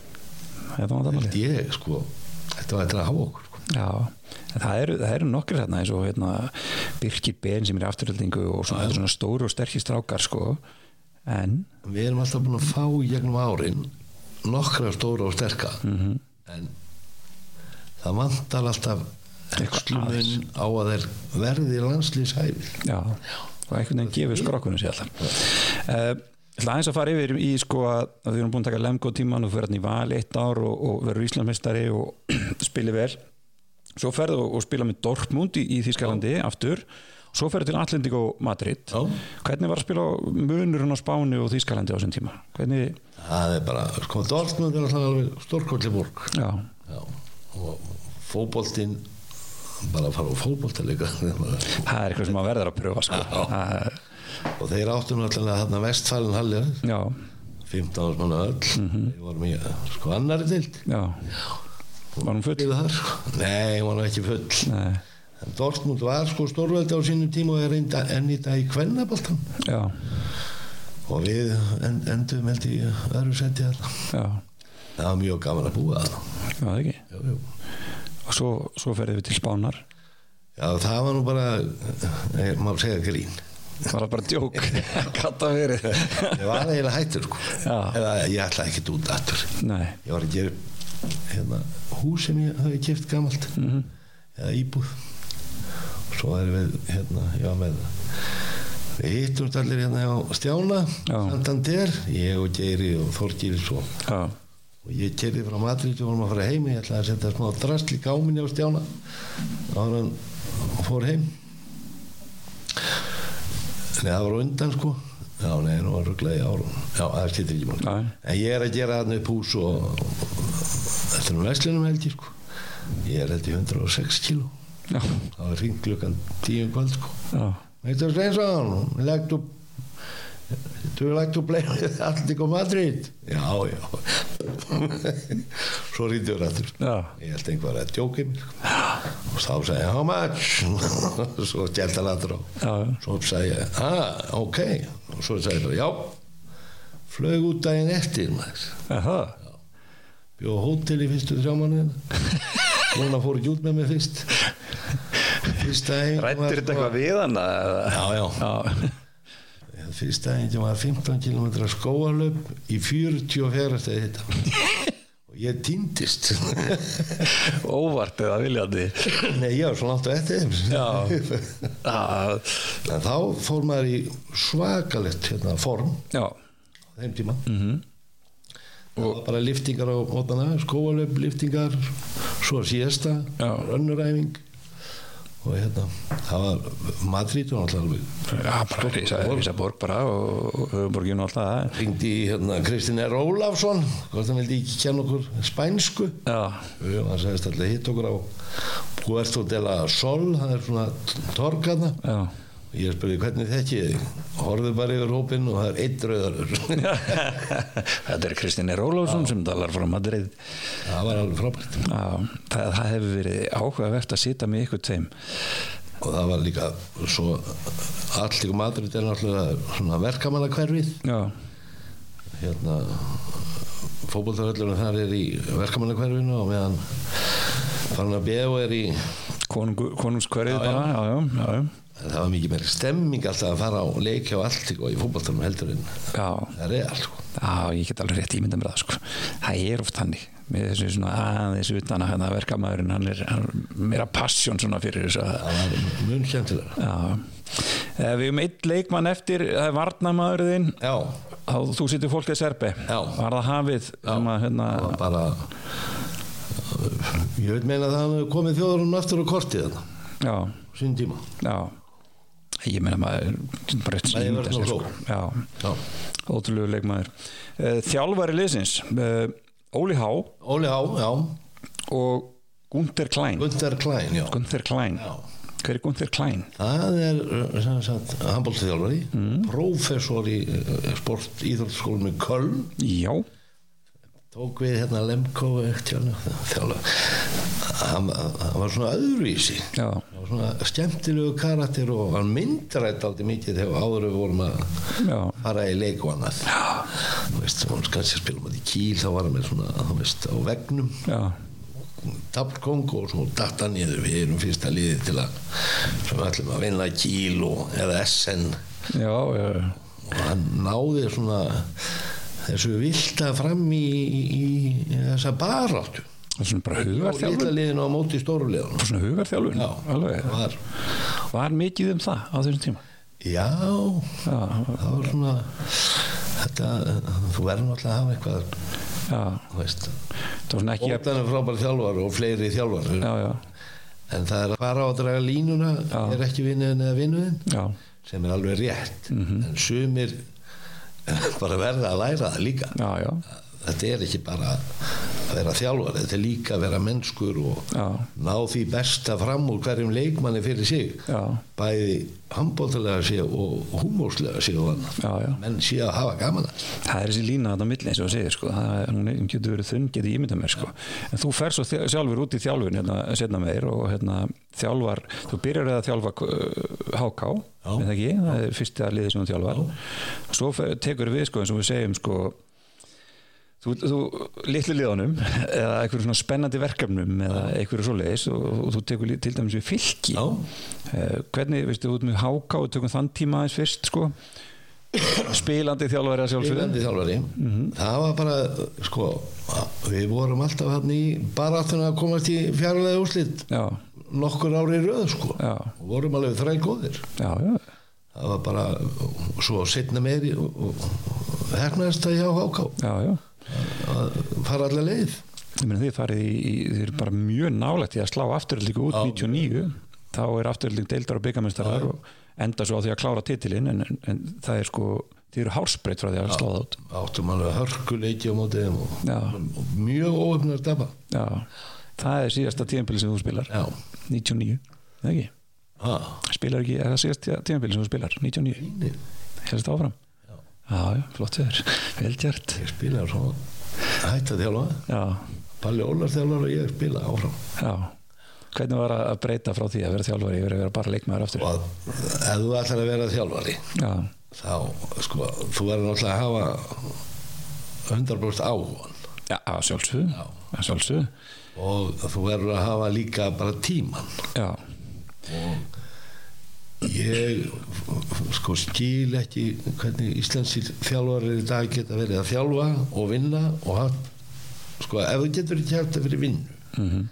eða hann þannig held ég sko þetta var þetta að hafa okkur sko. já, en það eru, það eru nokkur hérna eins og hérna, Birkir Ben sem er í afturöldingu og svona, þetta er svona stóru og sterkir strákar sko, en við erum alltaf búin að fá í gegnum árin nokkra stóra og sterka -hmm. en það vantar alltaf aðeins. hekslumun á að þeir verði landslýshæfið já, og einhvern veginn gefur skrokkunum sér alltaf uh, ætla aðeins að fara yfir í sko að að við erum búin að taka lemgo tíman og fyrir hann í val eitt ár og, og verður Íslandsmeistari og (clears throat) spili vel svo ferðu og, og spila með Dortmund í, í Þískalandi aftur, svo ferðu til Atlantico Madrid, Já. hvernig var að spila munurinn á Spáni og Þískalandi á þessum tíma hvernig, Það er bara, sko, Dortmund er alltaf alveg stórkolli borg já, Já, og fótboltinn bara að fara á fótbolta líka (laughs) það er eitthvað sem að verður að pröfa sko. Já. Það er- og þeir áttu náttúrulega þarna vestfælinn hallið já, 15 árs manna öll mm -hmm. ég var mjög, sko, annari dild já var hún full? við þar, sko. nei, hún var ekki full Nei, en Dortmund var sko stórveldi á sínum tíma og er reynda enn í dag í kvennaboltan já, og við en, endum held í öðru seti þarna já, það var mjög gaman að búa þarna já, það ekki jú, jú. og svo, svo ferðum við til Spánar já, það var nú bara eh, maður segja grín var það bara (laughs) djók gata verið ég var eiginlega hættur sko. Já. eða ég ætlaði ekkert út aftur nei, ég var að gera upp hérna, hús sem ég hafi kæft gamalt eða íbúð og svo erum við hérna, ég var með við hittumst allir hérna á Stjána Já. Santander, ég og Geiri og Þorgils og, já, og ég keiri frá Madrid og vorum að fara heim ég ætlaði að setja smá drasl í gáminni á Stjána áður en hann fór heim Nei, það var á undan sko Já, nei, nú var rugglega í árun Já, það skiptir ekki mál já, En ég er að gera þarna upp hús og þetta er nú veslinum held ég sko. Ég er held ég 106 kíló. já, Það var hring klukkan 10 um kvöld sko. já. Meitur Sveinsson, lagt upp Þú hefur lagt úr bleið Allting og Madrid Já, já Svo rítið við rættur já. Ég held einhver að djóki mér sko. Og þá sagði ég, how much (laughs) Svo gælt hann aðra á já. Svo sagði ég, ah, ok Og svo sagði ég, já Flög út daginn eftir maður Er það? bjó á hótel í fyrstu þrjá mánuðina núna fór ekki út með mig fyrst fyrsta eigin sko- Rættir þetta eitthvað við hana? eða? já já Já, fyrsta eigin var 15 km skóalöp í 44 stegi þetta og ég týndist (laughs) Óvart eða viljandi nei ég var svona átt á eftir þeim. Já, en þá fór maður í svakalett hérna, form já, á þeim tíma það var bara liftingar á mótana skóalöf, liftingar svo síðasta, Já. önnuræfing og hérna það var Madrid og alltaf já bara rísa, rísa borg bara og og höfuborgin og allt það ringdi í hérna Kristinn R. Ólafsson hvort hann vildi ekki kenna okkur spænsku Já, og hann sagðist alltaf hitt okkur á Puerto de la Sol það er svona torkana já ég spurði hvernig þekki ég þig?" horfði bara yfir hópinn og það er eitt rauðarur (laughs) Þetta er Kristine Rólafsson sem talar frá Madrid það var alveg frábært Já, það, það hefur verið áhugavert að sita með ykkur tveim og það var líka svo allir Madrid er náttúrulega svona verkamannakverfið Já, hérna fótbolltaröllunum þar er í verkamannakverfinu og meðan Barnabéu er í konungu, konungskverið bara Já, já, já, já. það var mikið meiri stemming alltaf að fara á leiki og allt og í fótbolltaröllunum heldur en já. það er allt sko. Já, ég get alveg rétt ímynda með það sko. Það er oft hannig með þessu svona aðeins utan að hérna verkamæðurinn hann er hann, er meira passjón svona fyrir þess að það var mun skemmtilega Já Eh, Við hefum eitt leikmann eftir, það er varnamæðurinn já, þá þú situr fólkið serbi Já. var það hafið sem að hérna það var bara ég veit meina að það hafi komið þjóðurinn aftur á kortið þarna, já, á sín tíma já ég meina maður bara rétt Bæði ímynda vörn og sér sko. sókn. já, já. ótrúlegu leikmaður Eh, þjálfari liðsins eh, Óli Há Óli Há, já, og Gunther Klein Gunther Klein já. Gunther Klein, Já. hver er Gunther Klein? Það er uh, sem sagt handbóltþjálfari, mm. prófessor í uh, sport íþjóðskólum í Köln Já, tók við hérna Lemko þjálfari hann, hann var svona öðruvísi já, hann var svona skemmtilegu karakter og hann myndrætt aldrei mikið þegar áður við vorum að já, fara í leik og annað þú veist, hann kannski að spila um þetta í kýl þá var hann með svona, þú veist, á vegnum já, Tabkong og svo datta niður við erum fyrsta liðið til að sem ætlum að vinna Kíl og eða SN já, já, og hann náði svona þessu vilda fram í, í, í þessa baráttu það er svona bara og litla hugarþjálfur, liðinu á móti stóru liðinu svona hugarþjálfur, Já. alveg, var, var mikið um það á þessum tíma, já já, það var svona þetta, þú verður náttúrulega að hafa eitthvað já, þú veist, það var svona ekki, að- óttan er frábæri þjálfar og fleiri þjálfar já, já, en það er að fara á að draga línuna Já. er ekki vinniðin eða vinnuðin já, sem er alveg rétt Mhm. en sumir (laughs) bara verða að læra það líka já, já, þetta er ekki bara að vera þjálfar þetta er líka að vera mennskur og já, ná því besta fram úr hverjum leikmanni fyrir sig já, bæði handbóltalega sé og húmóslega sé og annað já, já, menn sé að hafa gaman að þessu. það er þessi lína þarna á milli eins og þú segir, sko, það er, hún er- hún getur verið þunn, getur ímynda mér, sko, en þú fer svo þjá- sjálfur út í þjálfun, hérna, setna meir og hérna, þjálfar, þú byrjar að þjálfa uh, HK, Já. er það ekki, það er fyrsta liðið sem þú þjálfar, svo fer, tekur við, sko, eins og við segjum, sko, þú, þú litlu liðanum (laughs) eða einhverjum svona spennandi verkefnum eða einhverju svoleiðis og, og þú tekur lið- til dæmis við fylki Já. Eh, hvernig, veistu, út með háká og tökum þann tíma aðeins fyrst (coughs) sko spilandi þjálfæri að sjálfsögðu Spilandi þjálfari það var bara, sko við vorum alltaf hann í baráttuna að komast í fjarlæði úrslit já, nokkur ári í röð, sko Já. og vorum alveg þræl góðir já, já, það var bara og svo setna meiri og- og- og hernaðist að hjá HK já, já. að fara allar leið Ég meina, þið farið í, í þið eru bara mjög nálægt í að slá afturöldingu út 99 þá er afturölding deildar og byggamestarar og enda svo á því að klára titilinn en, en, en það er sko, þið eru hársbreytt frá því að slá það út áttum alveg hörkuleiki á móti þeim og, Já. og mjög óöfnar dabba já, það er síðasta tíðanbili sem þú spilar já, 99, eða ekki ha, spilar ekki, er það síðasta tíðanbili sem þú spilar 99, inni helst áfram já, já, flott þér, velgjart ég spila svo hætta þjálfa, já, Palli Ólars þjálfar og ég spila áfram Já, hvernig var að breyta frá því að vera þjálfari yfir að vera bara leikmaður aftur? og ef þú ætlar að vera þjálfari Já, þá, sko, þú verður náttúrulega að hafa 100% áhugan Já, að sjálfsögðu, að sjálfsögðu, og þú verður að hafa líka bara tíman já, ég sko skil ekki hvernig íslenskir þjálfarir í dag geta verið að þjálfa og vinna og hann sko ef þú getur ekki hægt að fyrir vinnu Mhm.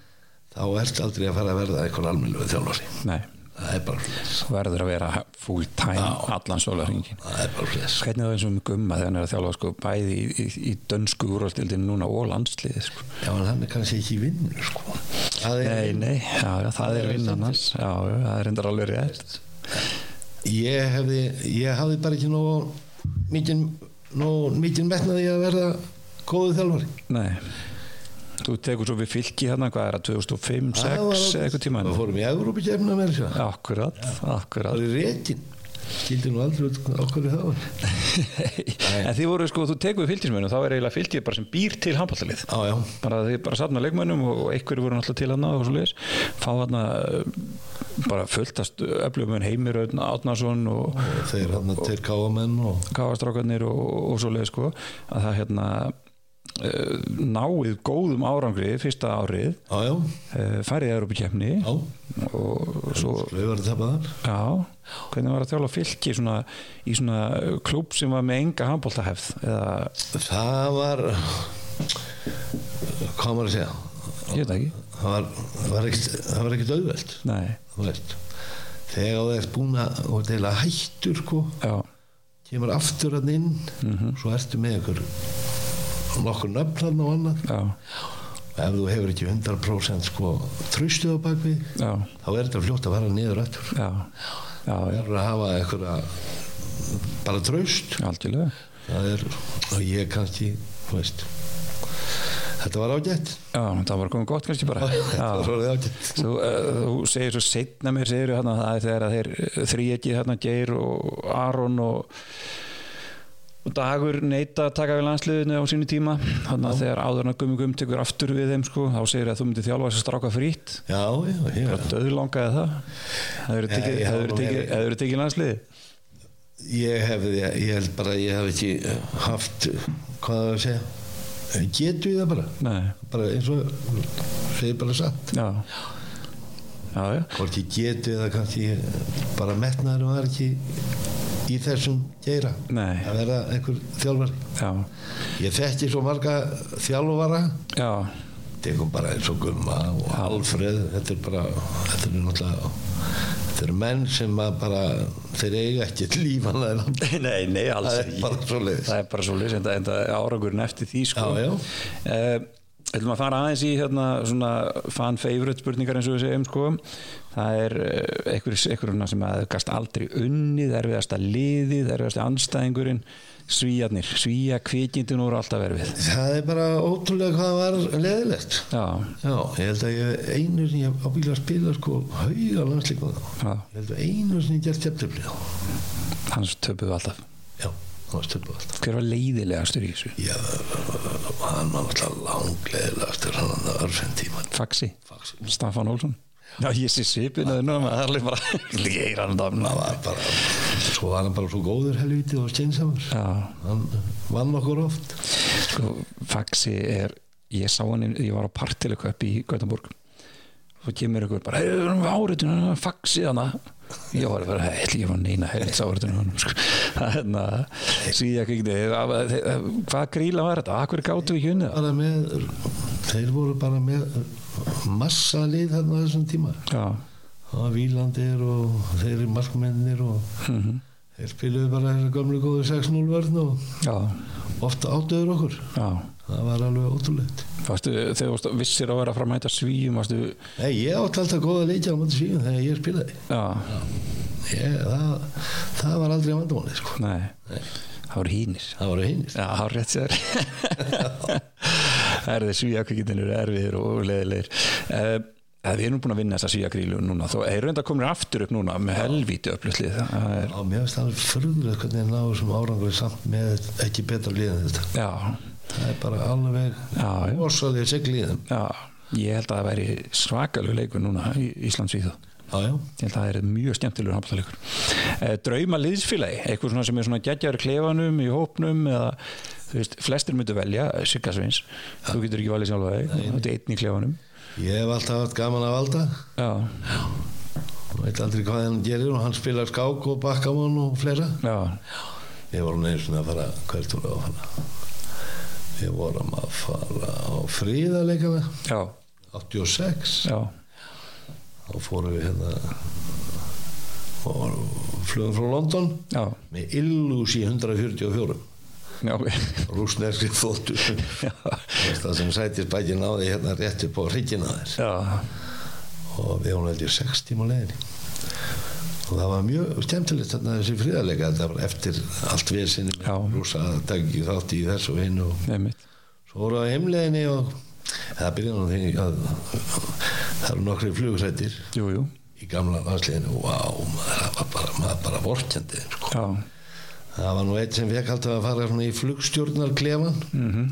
þá ert aldrei að fara að verða eitthvað almennilegu þjálfari nei, það er bara fles þú verður að vera full time allan sólarhingin. það er bara fles Hvernig er það eins og með gumma þegar hann er að þjálfa sko bæði í, í, í dönsku úrvalstildin núna og landsliði sko. já en hann er kannski ekki í vinnu sko það er Nei, nei, já, já, það er vinnan hans, já, já, það er reyndar alveg rétt. ég hefði ég hafði bara ekki nóg mikinn nóg mikinn metnaði að verða góðu þjálfari Nei, þú tekur svo við fylki hérna, hvað er það, 2005, Það 2006, var alveg- eitthvað tíma? við fórum í Evrópikefna með þessu Akkurat, akkurat. Það er réttin Skildi nú aldrei út okkur það var (laughs) en þið voru sko, þú tekur við fylgismönnum, þá er eiginlega fylgið bara sem býr til handballtalið. Já, já bara því bara safna leikmönnum og og einhverju voru náttúrulega til hana og svo leiðis fá hana bara fulltast öflugmenn Heimir Örn Átnarsson og Þeir hann að þeir káa menn og Kavastrákarnir og, og svo leiðis sko að það hérna eh, náið góðum árangri fyrsta árið Já, já, eh, færið að Európa kemni já og svo Við varum tapað þar Já, hvernig var að þjála fylki svona, í svona klúb sem var með enga handbóltahefð eða, Það var Hvað á maður að segja ég veit það ekki Það var, það var ekkit, það var ekkit auðvelt Nei, Þú veist Þegar þú ert búin að og ert eiginlega hættur sko, já, kemur aftur hann inn svo ertu með ykkur nokkur nöfn hann og annað já, og ef þú hefur ekki 100% sko, tröstuð á bakvið já, þá er þetta fljótt að fara niður aftur já Já, það já, er að hafa eitthvað bara traust algjörlega það er, og ég kannski þú veist þetta var ágætt Já, það var komið gott kannski (laughs) bara þetta var Já. orðið ágætt Þú, uh, þú segir svo setna mér segir hérna, það er þegar að þeir þrýegið hérna Geir og Aron og, og Dagur neita að taka við landsliðinu á sínu tíma þannig að þegar áðurna gummi gum tekur aftur við þeim sko, þá segir að þú myndir þjálfa þess að stráka frýtt já, já, já döðlangaði það það eru tekið, Nei, ja, það var nú tekið, meira. tekið, tekið landsliði ég hefði, ég held bara að ég hef ekki haft, hvað það að segja getu í það bara Nei, bara eins og segir bara satt já já, já, hvorki getu eða kannski bara metnaður var ekki í þessum geira Nei. að vera einhver þjálfari já, Ég þekki svo marga þjálfara já, tekum bara eins og Gumma og Alfreð þetta er bara þetta er náttúrulega þetta eru menn sem að bara þeir eiga ekki lífanlega land (laughs) nei, nei, alls það er bara svo leiðis það er bara svo leys en það er árangurinn eftir því sko. Já, já. Eh, ætlum að fara aðeins í hérna, svona fan favorite spurningar eins og við segjum sko. það er eh, einhver, einhverjum sem að gast aldrei unnið erfiðasta liðið, erfiðasta anstæðingurinn svíjarnir, svíja kvikindin voru alltaf erfið það er bara ótrúlega hvað það var leðilegt já, Já, ég held að ég einu sem ég ábyggilega að spila sko hauga landslíkum þá já, ég held að einu sem ég gert tjöptöflið hans töpuðu alltaf já, það var stöpum alltaf hver var leiðilegastur í þessu? já, hann var náttúrulega langleðilega eftir hann að örfinn tíma Faxi, Faxi. Staffan Olsson Já, ég sé svipin að það er alveg bara leir hann dæmna það var bara svo var hann bara svo góður helvítið og steinsamur Já, hann vann okkur oft sko, Faxi er ég sá hann, inn- ég var á partileköp í Göteborg svo kemur ykkur bara, hefur hann áritun, hann er Faxi hana ég var bara, hei, ekki var neina helvits áritun hann, sko (laughs) Hérna, þannig að síðan kvikni hvað gríla var þetta, akkur gátu við ekki unnið það? bara með þeir voru bara með massa lið þarna á þessum tíma Já, það var Vílandir og þeir eru markmennir og mhm, þeir spiluðu bara þessar gömlu góðu 6-0 vörn og já, ofta áttuður okkur já það var alveg ótrúlegt Vastu, þegar þú varst- vissir að vera að framhæta svíum, varstu, Nei, ég átti alltaf góða leikja á móti svíðum þegar ég spilaði já ég, það, það var aldrei vandamáli sko. Nei, það voru hínir það voru hinnist Já, það voru rétt sér Það er þeir svíakvíkindin eru erfiðir og leðilegir uh, Við erum búin að vinna þessa svíakrílu núna þó eru enda komin aftur upp núna með helvíti upplýslið Það er, Já, mér finnst alveg fyrðulegt hvernig ég náðu sem árangur samt með ekki betra lið en þetta. já, Það er bara alveg já, já, orsaðið segliðum. já Ég held að það væri svakalug leikur núna í Íslandsvíðu Já, já. Ég held að það er mjög skemmtilegur Eh, handbóltaleikur uh, Drauma liðsfélagi, eitthvað svona sem er svona geggjari klefanum í hópnum eða þú veist, flestir myndu velja eh, Sigga Sveins, þú getur ekki valið sjálfa þig þú ert einn í klefanum Ég hef alltaf haft gaman að valda já, og veit aldrei hvað hann gerir og hann spilar skák og bakkamón og fleira já, Við vorum einu sinni að fara, hvert vorum við að fara? Við vorum að fara á fríðarleikana já, 86 já og fórum við hérna og flugum frá London já, með Illusi 144 já, (laughs) rúsneskri þóttu það sem sætist bækinn á því hérna rétt upp á hryggina þér já, og við vorum heldur 6 tíma á leiðinni og það var mjög skemmtilegt þarna þessi fríðarleika þetta var eftir allt við sinni Já. rúsa dagi þátt í þessu og hinn og einmitt Svo voru á heimleginni og það byrjaði nú því að það eru nokkri flugsættir jú, jú, í gamla landsliðinu og vá, maður það var bara, maður bara vorkjandi sko. já, það var nú eitt sem fekk alltaf að fara svona í flugstjórnarklefan mhm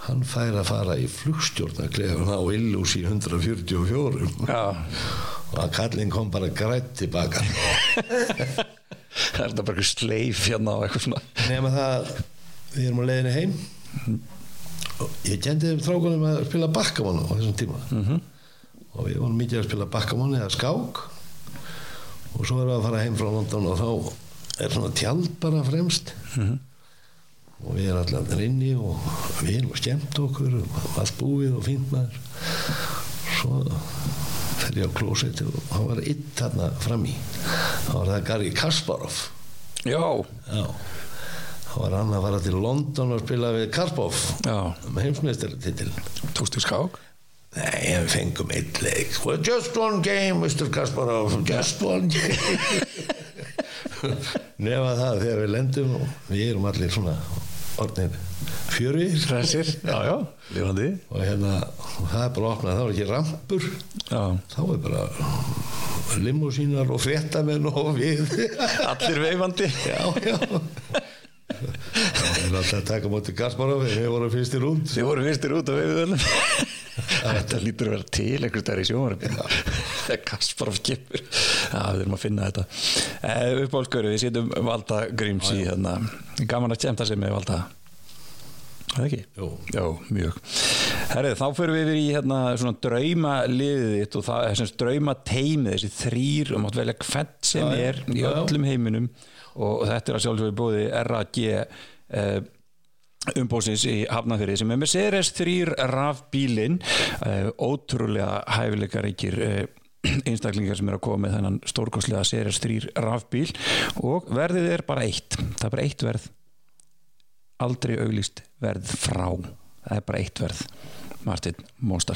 hann fær að fara í flugstjórnarklefan á Illus í 144 já, og að kallinn kom bara grætt tilbaka það er þetta bara eitthvað sleif hérna og eitthvað svona nema það við erum á leiðinu heim og ég kendi þeim strákunum að spila bakkamann á þessum tíma Mhm. og við vorum mikið að spila bakkamann eða skák og svo erum við að fara heim frá London og þá er svona tjald bara fremst og við erum allar inni og við erum að skemmt okkur og allt búið og fínt maður svo fer ég á klósetti og hann var ytt þarna fram í þá var það Gary Kasparov já, Já, þá var hann að fara til London og spila við Karpov já, um heimsmeistartitil. tókstu skák Nei, en við fengum eitt leik. Well, just one game, Mr. Kasparov, just one (laughs) game. Nefna það þegar við lendum og við erum allir svona orðnir fjörir hressir, já, já, lifandi og hérna, og það er bara að opna, þá er ekki rampur, já, þá er bara limúsínar og fréttamenn og við. allir veifandi já, já Það er alltaf að taka móti Kasparov en við vorum fyrstir út Þið voru fyrstir út af veiðunum Þetta lítur að vera til einhvers þar í sjónvarpinu Þegar Kasparov kipur Já, við erum að finna þetta eh, Uppáhaldsgöru, við setjum Valda Gríms í þarna Gaman að kemta sig með Valda Það ekki? Jú. Já, mjög Herrið, þá förum við yfir í hérna svona drauma liðið þitt og það er sem drauma teimið þessi þrýr og mátt velja hvern sem Já, já. er í Já, já. öllum heiminum og þetta er að sjálfsögur búið RAG eh, umbósins í Hafnafyrði sem er Mercedes 3 rafbílin eh, ótrúlega hæfileikaríkir eh, einstaklingar sem er að koma með þennan stórkostlega Mercedes 3 rafbíl og verðið er bara eitt það er bara eitt verð aldrei auglýst verð frá það er bara eitt verð Martin Móstal,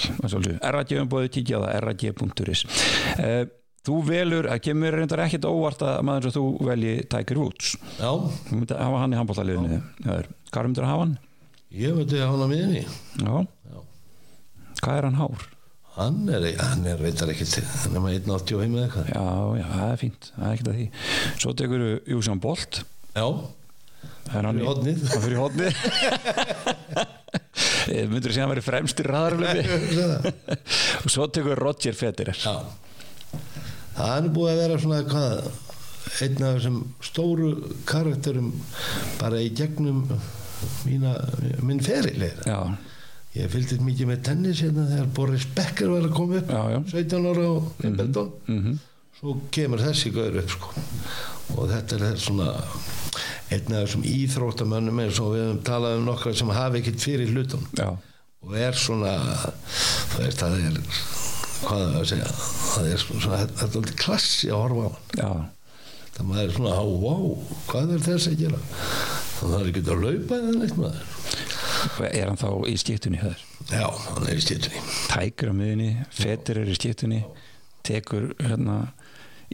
RAG umbóðu kíkja á það, rag.is eh, Þú velur, að kemur reyndar ekkert óvart að maður eins og þú velji Tiger Woods Já, Þú myndir hafa hann í handbóltaliðinu Hvað myndir að hafa hann? ég veit að hann á miðinni Já. Já. Hvað er hann hár? Hann er, hann er veitar ekki til hann er maður 1.85 eða eitthvað Já, já, það er fínt, það er ekkert að því Svo tekur við Júsjón Bolt Já, Það er hann Fyrir í- hornið. Hann fyrir hodni (laughs) Myndir þú sé að hann verið fremstir ræðarflöfi (laughs) Og svo tekur við Roger Federer Já Hann er búið að vera svona hvað einn af þessum stóru karakterum bara í gegnum mína, minn feril Já, Ég fylgdist mikið með tennis hérna þegar Boris Becker var að koma upp já, já 17 ára á Wimbledon Mhm. svo kemur þessi gaur upp sko. og þetta er þess svona einn af þessum íþróttamönnum eins og við höfum talað um nokkra sem hafi ekkert fyrir hlutum Já, og er svona þú veist það er hvað er að segja það er svona, þetta er aldrei klassi að horfa á hann já, það maður er svona, á, wow, hvað er þess að gera það er ekki að laupa eða neitt maður er hann þá í skiptunni höður já, hann er í stýrtunni Tiger á miðinni, Federer í skiptunni Tekur hérna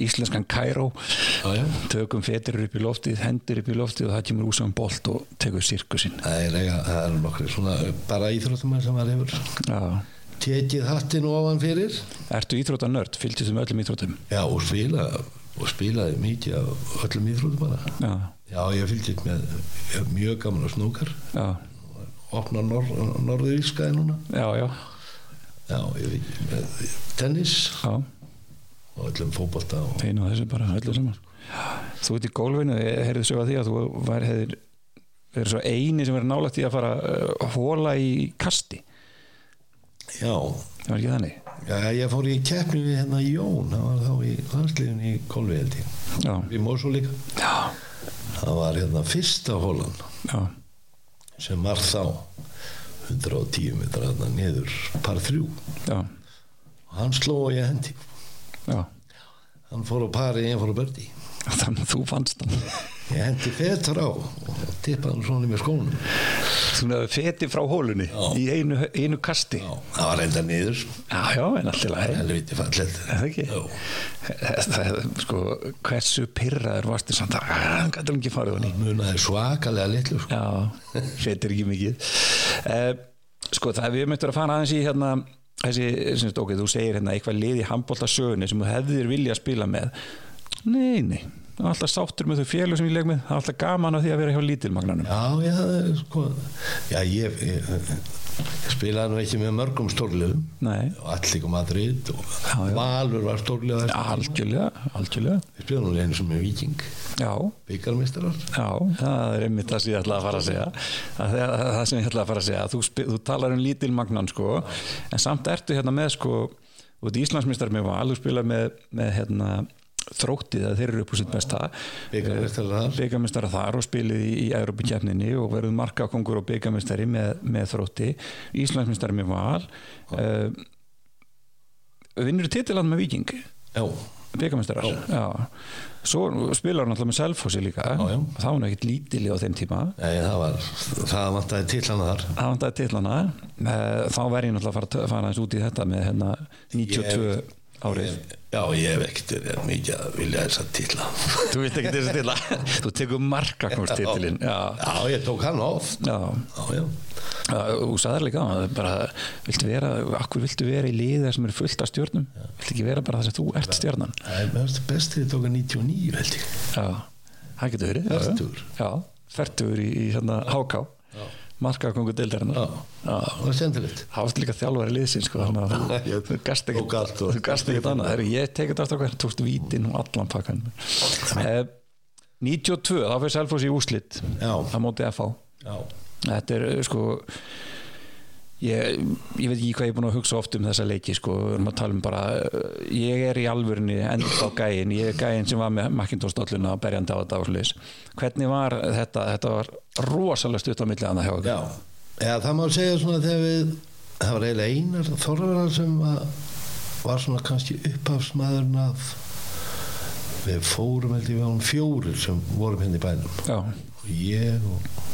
Íslenskan Kairó já, já tökum fetir upp í loftið, hendur upp í loftið og það kemur úsum bolt og tekur sirkusinn Það er, eiga- það er nokkri svona bara íþróttumæður sem maður hefur Já. tekið hattinn ofan fyrir Ertu íþrótta nörd, fylgist um öllum íþróttum já, og spila og spilaði mikið af öllum íþróttum bara Já, já, ég fylgdist með ég hef mjög gaman á snúkar já, opna nor norðurískaði núna já, já, já, ég fylgdist með tennis já og öllum fótbolta og einu og þessu bara öllu saman Þú ert í gólfinu, ég heyrði sög að því að þú væri hefðir við erum svo eini sem er nálægt í að fara að hóla í kasti já, það var ekki þannig já, ég fór í keppni við hérna Jón, það var þá í landsliðun í Kolviðeldi, já, við Mósó líka já, það var hérna fyrsta hólan já, sem var þá 110 metra hérna niður par þrjú, já, og hann sló og ég hendi já. hann fór á pari, ég fór á bördi þannig að þú fannst hann ég hendi fetur á og tippaði hann svona með skónum svona feti frá hólunni í einu, einu kasti já, Já, það var enda niður sko. já, en allt í lagi helviti fallet það ekki það, sko, hversu pyrraður varstu samt að hann gæti ekki farið hann í munaði svakalega litlu sko. já, setir ekki mikið eh, sko, það við möttum að fara aðeins í hérna þessi, sem stókið, þú segir hérna eitthvað lið í handbóltasögunni sem þú hefðir vilja að spila með nei, nei, það er alltaf sáttur með þau félug sem ég leg með, það er alltaf gaman af því að vera hjá lítilmagnanum já, já, sko já, ég, ég, ég spilaði nú ekki með mörgum stórliðum nei, og allir kom Madrid og já. Valur var stórliða algjörlega, algjörlega ég spilaði nú einu sem er viking já, byggarmistrar Já, það er einmitt það sem ég ætla að fara að segja það, það, það sem ég ætla að fara að segja þú, spi- þú talar um lítil magnan sko en samt ertu hérna með sko út í Íslandsmistar með val, þú spila með, með hérna þróttið að þeir eru upp úr sitt besta byggarmistrar þar byggamistara þar og spilið í, í Európa-kjefninni og verið markakongur og byggamistari með, með þrótti, Íslandsmistari með val uh, vinnur titiland með viking já, byggamistarar já. svo spilar hann alltaf með Selfossi líka já. þá var hann ekkert lítili á þeim tíma Nei, það var það vantaði til hann þar það vandaði til hana Eh, þá verð ég náttúrulega að fara, fara aðeins út í þetta með hérna 92 árið já, ég hef ekkert verið mikið að vilja þess að til þú vilt ekki þessi til að þú tekur markakvort titilin já, (laughs) já, ég tók hann oft já já, já, Já, Þú sagðar líka, áðan, það er bara, viltu vera, akkur viltu vera í liða sem er fullt af stjörnum? Viltu ekki vera bara þess að þú ert stjörnan? það er mest bestið ég tók að 99 held ég Já, það getur verið. já, já. Fertugur. Já, fertugur í, í hérna háká, markakongu deildarinnar. Já. það var sendilegt Það varst líka þjálfari liðsins sko, þannig að þú- Ég- þú gast tók allt ekkert og- þú gast ekkert annað, Heru, ég tekið þetta aftur hvernig tókst vítin og allan pakkan eh, 92, þá fyrir Selfoss í úslit Já. á móti FH Já, þetta er eh, sko ég, ég veit ekki hvað ég er búin að hugsa oft um þessa leiki sko, við erum að tala um bara eh, ég er í alvörinni enda á gæin ég er gæin sem var með Macintosh dolluna og berjandi á þetta ásliðis hvernig var þetta, þetta var rosalega stutt á milli annað hjá okkur já. Eða, það má segja svona þegar við það var eiginlega einar þorðarar sem að, var svona kannski upphafsmaðurinn af við fórum held ég við hann fjórir sem vorum hérna í bænum já, og ég og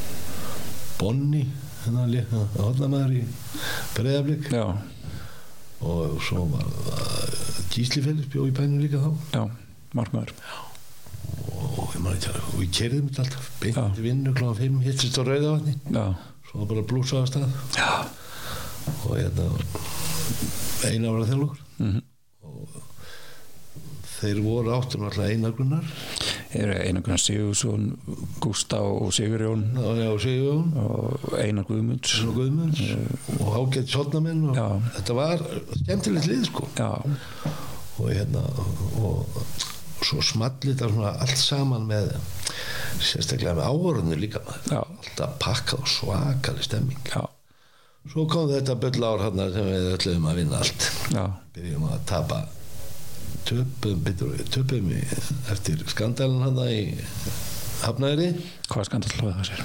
Bonni hérna líka hodnamaður í Breiðablík já, og svo var það Gísli Félix bjó í bænum líka þá já, margmaður og ég maður ekki að og við kerðum þetta alltaf Já. beinti vinnu kláðan 5 hittist á Rauðavatni já, svo bara blúsaði af stað já, og hérna einar var að þjálfa okkur Mhm. og þeir voru áttur náttúrulega einar grunnar eru einangrun Sigursson Gústa og Sigurjón og já, Sigjón og Einar Guðmunds og Guðmunds og ágætt sotnamenn og Já. þetta var skemmtilegt lið sko já, og hérna og svo small þetta svona allt saman með sérstaklega með áhörðinu líka maður Já. alltaf pakkað og svakali stemming já, svo kom þetta bull ár hann sem við ætlum að vinna allt já, byrjum að tapa töpum, bitur, töpum í, eftir skandalin hann í hafnæri hvað skandall hlóði það sér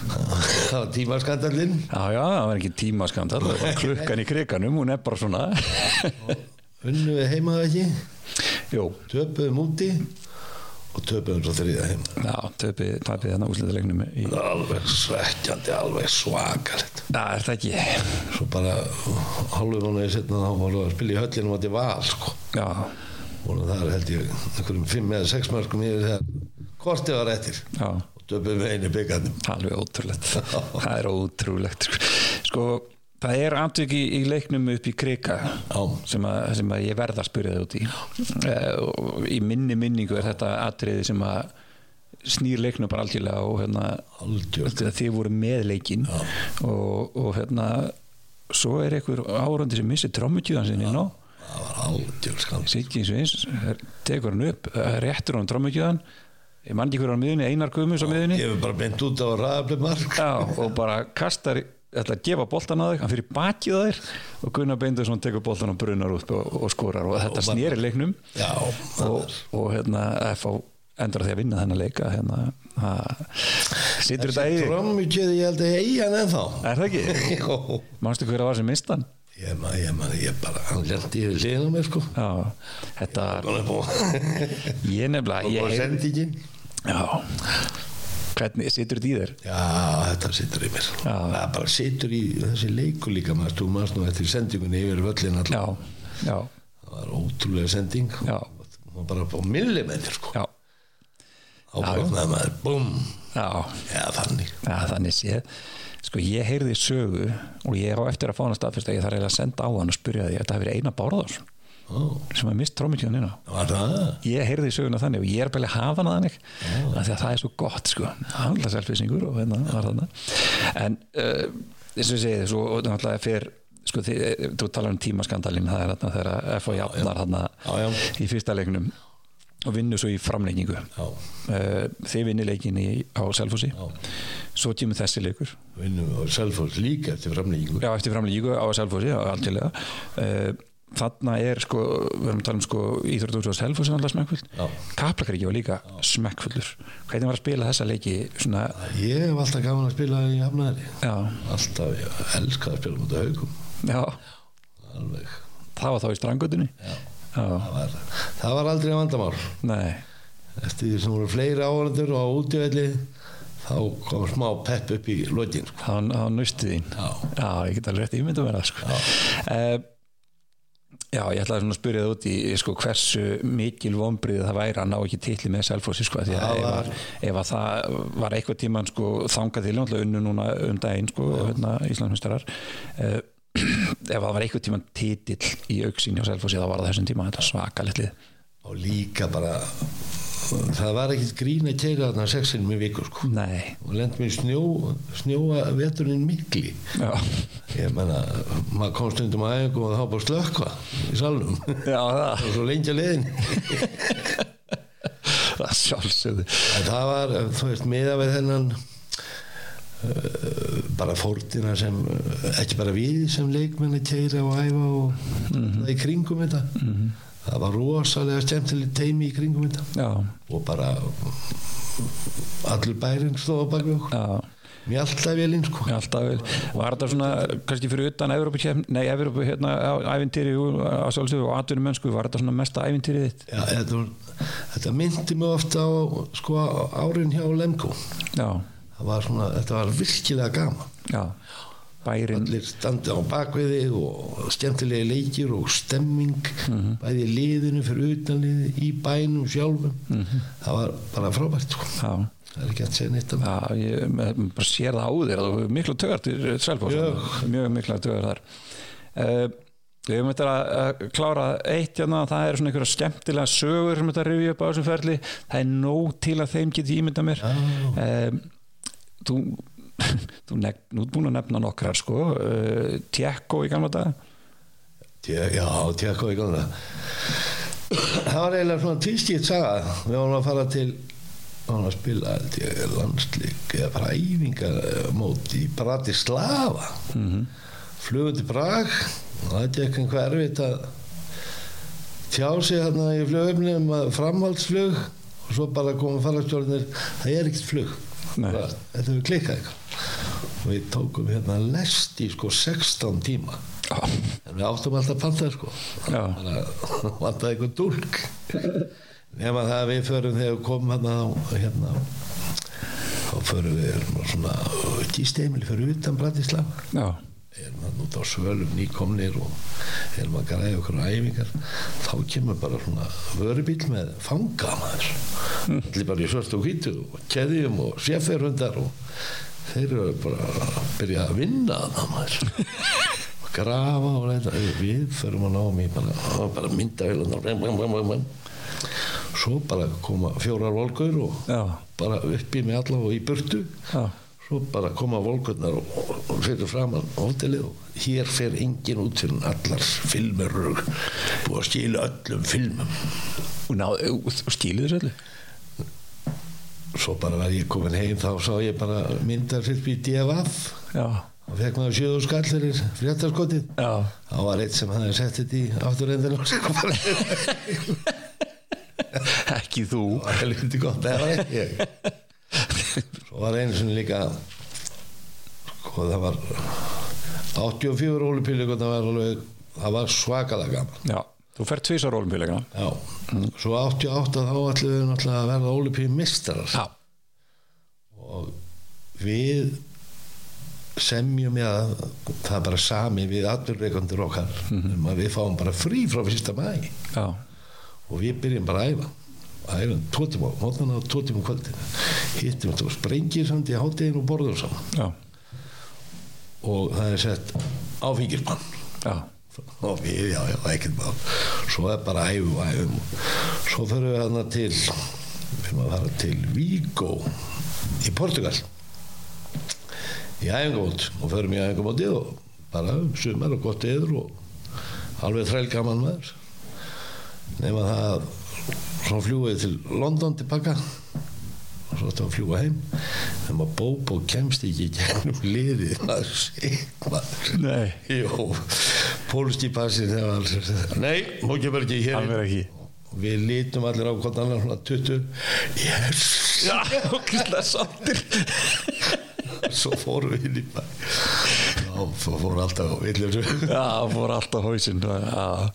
það var tímaskandalin já, já, það var ekki tímaskandall það var klukkan í kriganum, hún er bara svona unnum við heima það ekki jú, töpum úti og töpum svo þriða heima já, töpi tapið þarna úsliðarlegnum í alveg svekkjandi, alveg svakalegt Það er það ekki Já, svo bara hálfum hann eða setna þá voru að spila í höllinu átti val sko. og það er held ég einhverjum fimm eða sex mörgum yfir þegar kortið var eftir já, og töpum við einu byggandum alveg ótrúlegt Það er ótrúlegt sko. Sko, það er andviki í, í leiknum upp í krika Já. sem að, sem að ég verða að spyrja það út í Eh, og Í minni minningu er þetta atriði sem að snýr leiknum bara algjörlega og hérna algjör Þegar þið voru með leikinn og, og hérna svo er einhver árandi sem missi trommutjúðan sinni ná, það var algjör skam Siggi Svins er- tekur hann upp, eh, réttur hann trommutjúðan ég man ekki hverju á miðunni, Einar Guðmunds á miðunni Ég hef bara beint út á ræðablið mark já, og bara kastar ætla að gefa boltan að þig, hann fyrir bakið að þér og Gunnar Beindursson tekur boltan og brunar út og, og skorar og þetta snýri leiknum Já, það og, og hérna F.A. endur á því að vinna þennan leika hérna, ha, situr þetta í Trommukjöði ég held að ég eigi hann ennþá er það ekki? (laughs) Jó, Manstu hverja var sem mist hann? ég man, ég man, ég bara, hann lendi yfir liðinu mér sko Já, þetta, Bara upp á- ég nefnilega Og ég, heyr- sendingin Já, hvernig situr þetta í þér? Já, þetta situr í mér Já. Það bara situr í þessi leiku líka maður, þú maður nú eftir sendingunni yfir völlin Já, alltaf já, Það var ótrúlega sending Já. Hún var bara upp á millimetri sko já, Ákvæmnaði maður, búm já Já, þannig Já, þannig séð, sko ég heyrði sögu og ég á eftir að fá hana staðfyrst að ég þarf eiginlega að senda á hann og spyrja því að þetta hafi verið eina bárðars Ó, sem að mist trómikjónina. var það Ég heyrði söguna þannig og ég er bara að hafa hana þannig oh. að það er svo gott sko, handla selfisingur og hérna var þannig. En uh, eins og ég segi þessu og náttúrulega fyrr, sko þið, þú talar um tímaskandalin, það er þarna þegar að F.O. jafnar þarna Já, já. í fyrsta leiknum og vinnur svo í framleikingu. Já, Uh, þið vinnir leikin í, á Selfossi, svo kemur þessi leikur vinnum við á Selfoss líka eftir framlýkingu Já, eftir framlíku á Selfossi, á algjörlega. Uh, þarna er sko, við erum að tala um sko Íþróttúrsjóðs Selfossi alltaf smekkfull. Já. Kaplakríki var líka smekkfullur. Hvernig var að spila þessa leiki svona, Ég hef alltaf gaman að spila í Hafnæri já, Alltaf, ég elska að spila mútið haugum já, Alveg það var þá í strangutinni. Já. Já, það var, það var aldrei vandamál nei, Eftir því sem voru fleiri áhverjandur og á útivelli Þá kom smá pepp upp í lokin sko. það var- það var nustið þín. Já Já, ég get alveg rétt ímynda mér það sko. Já. já, ég ætlaði svona að spyrja það út í sko, hversu mikil vonbrið það væri að ná ekki titli með Selfossi sko, því að ef, Það var- var... ef að það var eitthvað tíman sko, þangað til náttúrulega unnu núna um daginn sko, hérna, Íslandsmyndstarar uh, ef það var eitthvað tíman titill í auksin hjá Selfossi þá var það þessum tíma þetta svakalegt lið Og líka bara Það var ekkit grín að keira þarna sexin með viku sko. Nei, Og lendi mér í snjó, snjóa veturinn mikli já, Ég menna, maður kom stundum að æfingu og þá bara slökva í salnum (laughs) já það, og svo lengja leiðin það sjálfsögðu en það var, þú veist, miða við þennan uh, bara fórtina sem uh, ekki bara við sem leikmenni keira og æfa og það í kringum þetta það var rosalega skemmtileg teimi í kringum þetta Já, og bara allur bærin stóð á bak við okkur já mér alltaf vel inn sko Alltaf vel. Var þetta svona, kannski fyrir utan Evropi, nei, Evropi, hérna, ævintýri á sjálfsögur og atvinnum mennsku, var þetta svona mesta ævintýrið þitt? Já, þetta, var- þetta myndi mig ofta á sko árin hjá Lemko Já, það var svona, þetta var virkilega gaman já. Bærin, allir standi á bakviði og skemmtilegi leikir og stemming bæði í liðinu fyrir utanliði í bænum sjálfum það var bara frábært sko. já, það er ekki að segja neitt um það já, ég maður bara sér það á þér, að þú hefur mikla tögar til Selfoss, Mjög. mjög mikla tögar þar. Uh, við höfum þetta að að klára eitt hérna, það eru svona einhverja skemmtilega sögur sem þetta rifja upp á þessum ferli, það er nóg til að þeim geti ímynda mér. um, þú (laughs) þú nefn, nú ert búin að nefna nokkrar sko, uh, Tjekko í gamla dag Té- já, tjekka við góðna það var eiginlega svona tvískipt saga við varum að fara til við varum að spila held ég, landsleik eða bara æfingamót í Bratislava mm -hmm. flugum til Prag og það er ekki einhver erfitt að tjá sig þarna í flugöfni um að framhaldsflug og svo bara komum farastjórnir það er ekkert flug Nei. Bara, þetta hefur klikkað eitthvað og við tókum hérna lest í sko 16 tíma já, en við áttum alltaf að panta sko já, bara (laughs) vantaði eitthvað dúlk nema það að við förum þegar við komum hérna á hérna á- þá förum við erum á svona gísteimili fyrir utan Bratislava já, erum hann út á svölum nýkomnir og erum að græða okkur á æfingar þá kemur bara svona vörubíl með fangamæður allir bara í svörst og hvítu og keðjum og séferhundar og þeir eru bara að byrja að vinna það maður og grafa og leita við förum að náum í bara, bara mynda vel svo bara koma fjórar volkur og já, bara upp í mig alla og í burtu já. svo bara koma volkurnar og, og- og fyrir fram að hótelið og hér fer engin út fyrir allar filmur eru búið að skila öllum filmum og ná, skilu þessu öllu svo bara var ég komin heim þá sá ég bara myndar fyrir í DFF já, og fekk maður sjöðu skall fyrir fréttaskotið já þá var eitt sem hafði sett þetta í afturrendin og sem bara ekki þú var helviti gott það var ekki ég svo var einu sinni líka sko það var 84 hólupillu það var alveg það var svakalega gaman já, þú fer tvísar ólumpíuleikana Já, svo 88 þá ætlum við náttúrulega að verða ólipíum mistrar já, og við semjum ég að það er bara sami við atbyrreikandur okkar um að við fáum bara frí frá fyrsta mæ já, og við byrjum bara að æfa æfum tvo tíma á mótnana og tvo tíma á kvöldina hittum þetta og sprengir samt í háttegin og borðum saman já, og það er sett áfengisbann já og við, já, já, ekkert mál svo er bara æfum, æfum svo fyrir við hana til fyrir að fara til Vigo í Portugal í æfingumót og fyrir í æfingumótið og bara sumar og gott yður og alveg þræl gaman maður nema það svo fljúið til London tilbaka og svo þetta að fljúa heim nema Bobo kemst ekki í gegnum liðið maður sitt maður nei, Jó, pólski passin þegar alls Nei, hún kemur ekki hér hann inn. verð ekki Við lítum allir á hvort annar svona 20 Yes (laughs) já, okkurlega sáttir Svo fórum við inn í bæ Já, svo fórum alltaf á villur já, fór alltaf hausinn já,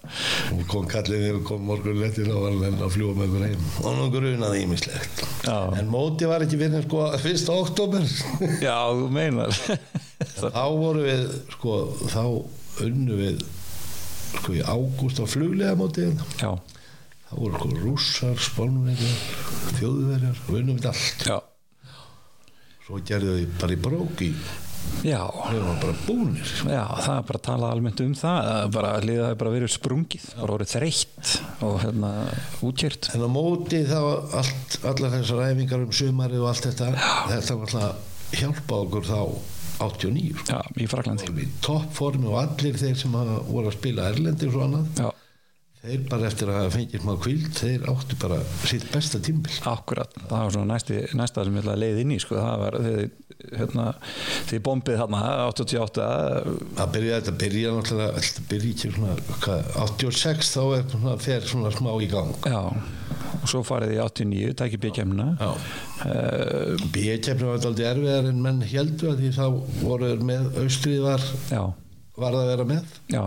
Hún kom kallið þegar hún kom morgun lettin og var hann að fljúa með okkur heim og hún grunaði ímislegt Já. En móti var ekki fyrir sko fyrst oktober já, þú meinar Þá vorum við sko, þá unnu við sko í ágúst á fluglega mótið hérna já, Það voru okkur rússar, spánverjar, þjóðverjar, við unnum þetta allt. já, Svo gerðu við bara í bróki, já við varum bara búnir. Já, það er bara að tala almennt um það að bara að liða hefur bara verið sprungið bara orðið þreytt og hérna útkjört En á móti þá allt, allar þessar æfingar um sumarið og allt þetta, þetta var alltaf hjálpa okkur þá 89. Sko. Já, í Fraklandi Við toppformi og allir þeir sem hafa voru að spila Erlendi og svo annað, Já, þeir bara eftir að fengið smá kvíld, þeir áttu bara sitt besta tímbil. akkurat það var svona næsti, næsta sem ég ætla að leiði inn í sko, það var þið hérna, þið bombið þarna 88 Það byrjaði þetta byrja náttúrulega, þetta byrja ekki svona, hvað, 86 þá er svona, fer svona smá í gang. Já, og svo farið í 89 tækir byggjæmna Já. Eh, B-keppni var aldrei erfiðar en menn heldu að því þá voru þeir með austrið var, Já, var að vera með já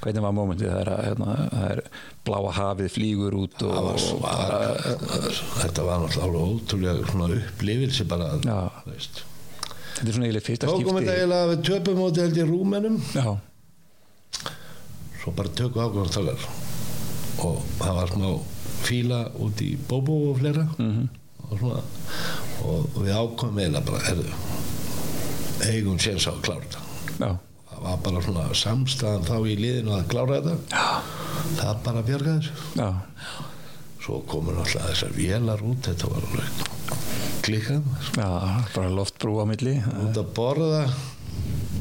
hvernig var mómentið það er, að, hérna, það er bláa hafið flýgur út og, það var svaka þetta var náttúrulega alveg ótrúlega svona upplifir sem bara að, Já. þú veist. þetta er svona eiginlega fyrsta tókum þetta skipti eiginlega við töpum átti held í rúmenum Já, svo bara tökum ákvæmstalar og það var smá fíla út í Bóbó og fleira Mhm. og svona og við ákvæmum eiginlega bara herðu, eigum séns á að klára þetta já, það var bara svona samstæðan þá í liðinu að klára þetta já það bara bjargaði þessu Já, svo komur alltaf þessar vélar út þetta var alveg klikkað maður. já, bara loftbrú á milli út að borða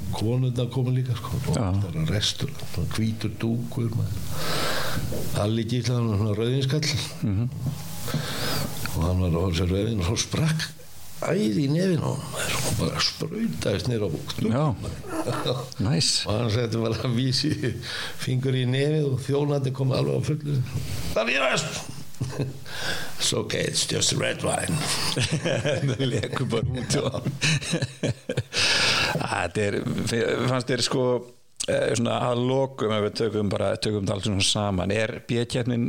konunda komur líka sko og Já. það var restur, svona hvítur dúkur allir gíslaði hann var svona rauðinskall Mhm. og hann var að horfa sér rauðin og svo sprakk æði í nefin á hann maður, og bara sprautaðist nýra á búknum Já, (laughs) næs (laughs) og hann setti bara að vísi fingur í nefið og þjónandi kom alveg á fullu það er rest it's okay, it's just red wine Það lekur bara út á hann Þetta er, fannst þér sko eh, svona að lokum ef við tökum bara, tökum það allt svona saman er bjökjarnin,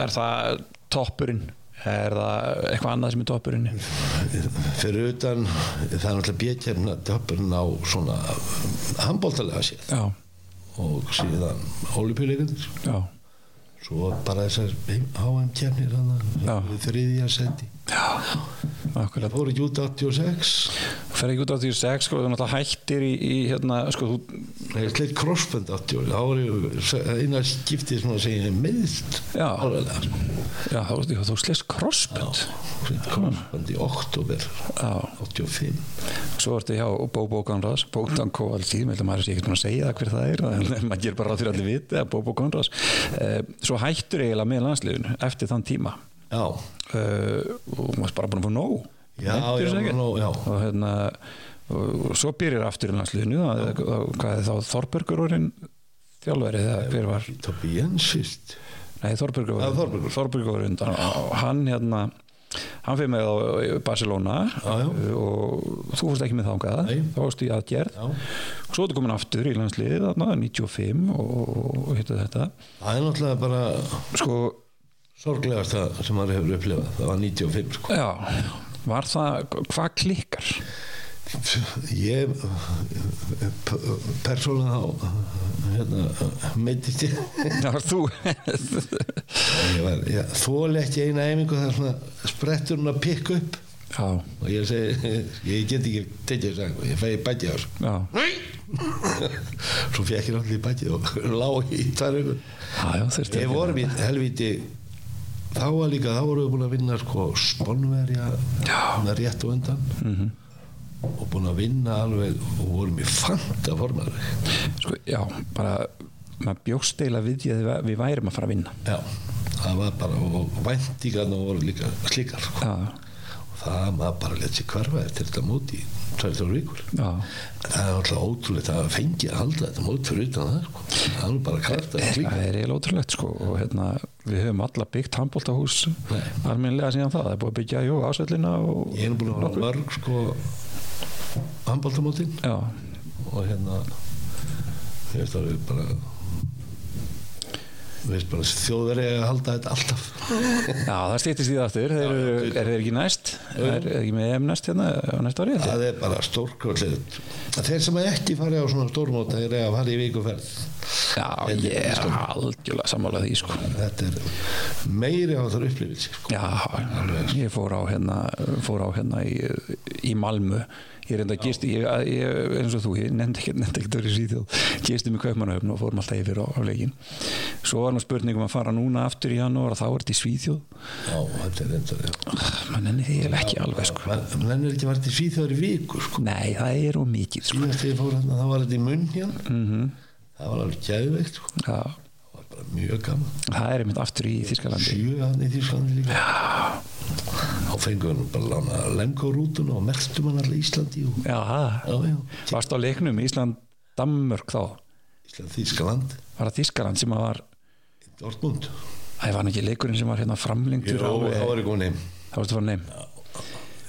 er það toppurinn, er það eitthvað annað sem er toppurinn fyrir utan það er náttúrulega bjökjæmna toppurinn á svona handbóltalega séð Já, og síðan ólipjuleikundir já, svo bara þessar HM kemnir Já. hann þriðja seti já Akkurat það fór ekki út 86 Fer ekki út á því sex, sko, þú náttúrulega hættir í, í hérna, sko, þú, það er sleitt crossbund 80 þá var ég eina skiptið sem að segja sko. meðst Já. álega já, þú, þú slest crossbund crossbund í oktober Já. 85 Svo ertu hjá Bobo Conrads, Bogdan Kovalsíð, með þetta maður sé ekkert búin að segja það hver það er, en maður gerir bara ráð fyrir allir viti að Bobo Conrads. Eh, Svo hættur eiginlega með landsliðun eftir þann tíma. já, uh, og maður er bara búin að fá nóg já, Nenntir já, þessu ekki? nú, já. og hérna og og svo byrjar aftur í landsliðinu það, það, hvað er þá Þorbergur orðin þjálfæri þegar hver var Tobi Jensist nei Þorbergur Ja, var Þorbergur. Þorbergur var undan og hann hérna hann fyrir með á Barcelona Eh, Já, já. og þú fórst ekki með þangað Nei. þá fórst í aðgerð Já. og svo ertu komin aftur í landsliðið þarna 95 og, og, og hittu þetta það er náttúrulega bara sko sorglegast sem maður hefur upplifað það var 95 sko já var það hvað klikkar ég persónulega þá hérna, meittist ég já þú ég var, ég, þóli ekki eina æfingu þar svona sprettur hún að pikka upp já og ég segi, ég get ekki tekið þess að ég fæði bæti á sko. já svo fekk ég náttúrulega í bæti og (laughs) lá í tvær vikur Já, já, þurfti við ekki vorum í helviti þá var líka, þá vorum við búin að vinna sko spannverja svona rétt og undan og búin að vinna alveg og vorum í fanta formaður að- sko, Já, bara maður bjóst eiginlega við því að við- við værum að fara að vinna já, það var bara og væntingarna voru líka slikar sko. Já, og það maður bara lett sér hverfa eftir þetta móti í 23 vikur já en það er alltaf ótrúlegt að fengi að halda þetta mót fyrir utan það sko. það er nú bara kræft að klíka Það er eiginlega ótrúlegt sko og hérna, við höfum alla byggt handbóltahús Nei. almennilega síðan það, það er búið að byggja jú, ásvellina og ég er nú búin að hafa mörg sko handbóltamótin já, og hérna ég veist að við bara við veist bara þjóðveri að halda þetta alltaf já, það stýttist í það aftur þeir eru, er þeir ekki næst er er ekki með EM næst hérna á næsta ári held ég? það er bara stórkvöldið þeir sem ekki fari á svona stórmóta þeir eiga að fara í vikuferð Já, ég er sko. algjörlega sammálað því sko þetta er meiri á þar upplifið sko. Já, ég fór á hérna, fór á hérna í, í Malmö ég reynda að gisti, ég, ég, eins og þú ég nefndi ekki, nefndi ekki það í Svíþjóð gisti mig kaupmannahöfn og fórum alltaf yfir á, á leikin svo var nú spurning um að fara núna aftur í janúar og þá er þetta í Svíþjóð já, þetta er enda mann enni því eiginlega ekki alveg sko menn er ekki vært í síþjóðar í viku sko. nei, það er of mikið sko síðast þegar ég fór hérna þá var þetta í munn hérna það var alveg gæðveikt sko. Já, það var bara mjög gaman það er einmitt aftur í Þískalandi sjö hann í Þýsklandi líka þá fengum við nú bara lána lengórútuna og mertum hann allir Íslandi og, Já, já, já, varst á leiknum Ísland Dammörk þá Ísland Þýskaland var það Þískaland sem að var Dortmund það var nú ekki leikurinn sem var hérna framlengtur Jú, alveg- þá var ég komin heim þá varstu frá neym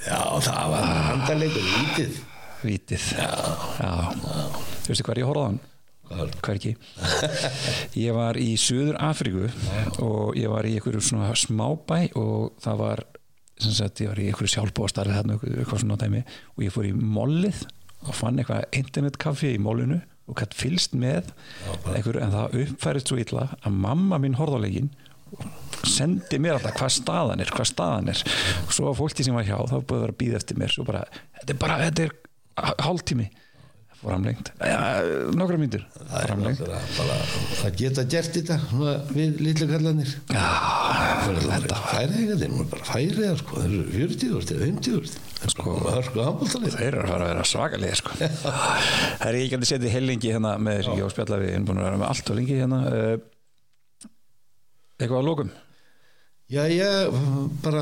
já það var handarleikur lítið Vítið Já Þú veistu hver ég horfði á hann? Hverki Ég var í Suður Afríku og ég var í einhverju svona smábæ og það var sem sagt ég var í einhverju sjálfbóðstarfi þarna eitthvað eitthvað svona dæmi og ég fór í mollið og fann eitthvað internetkaffi í mollinu og gætt fylst með einhverju en það uppfærið svo illa að mamma mín horðalegin sendi mér alltaf hvað staðan er hvað staðan er og svo að fólki sem var hjá þá búið að vera að býða eftir mér svo bara, þetta er bara, þetta er hálftími framlengt, ja, nokkra myndir framlengt það, er bara, það geta gert þetta svona, við litlu kallanir þetta færiðingarnir nú bara færiðar sko þeir eru 40 úrst eða 50 úrst sko hörku handbóltanir þeir eru að fara að vera svakalegir (laughs) sko. það er ekki að setja hellingi hérna með þessi ekki og spjalla við erum búin að vera með allt og lengi hérna eh, eitthvað að lókum Já, ég bara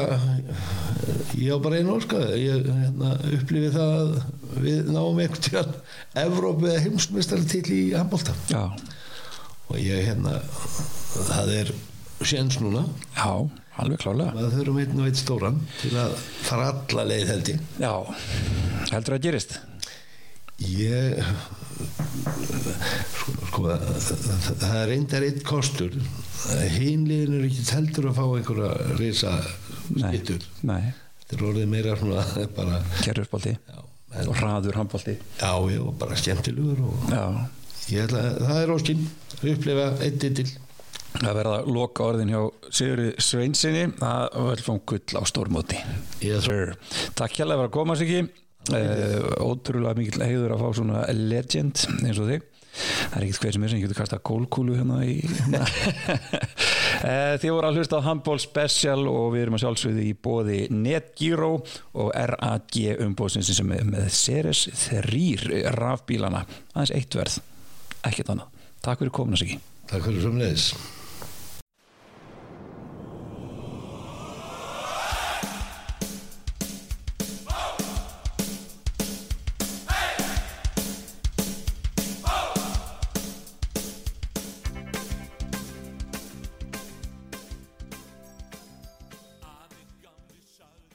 ég á bara einu orska ég hérna, upplifi það að við náum einhvern tíðan Evrópu eða heimsmeistar til í handbólta já, og ég hérna það er séns núna já, alveg klálega að þurfum einn og einn stóran til að fara alla leið held ég já, heldur að gerist ég sko, sko það- það það er reyndar einn kostur hinliðin er ekki heldur að fá einhverja risa nei, skittur nei, þetta er orðið meira svona bara kerfusbolti Já, en, og hraður handbolti já, ég var bara skemmtilegur og já, ég ætla að það er óskinn að upplifa eitt til að verða að loka orðin hjá Sigurði Sveinsinni að velfum gull á stórmóti Yes, Sir. Takk hérlega fyrir að koma Siggi uh, ótrúlega mikill heiður að fá svona legend eins og þig það er ekkert hver sem er sem getur kastað kólkúlu hérna í (laughs) hérna. Eh, Þið voru að hlusta á Handball Special og við erum að sjálfsögðu í bóði NetGiro og RAG umbóðsins sem er með Ceres 3 rafbílana aðeins eitt verð, ekkert annað Takk fyrir komuna Siggi takk fyrir sömulegis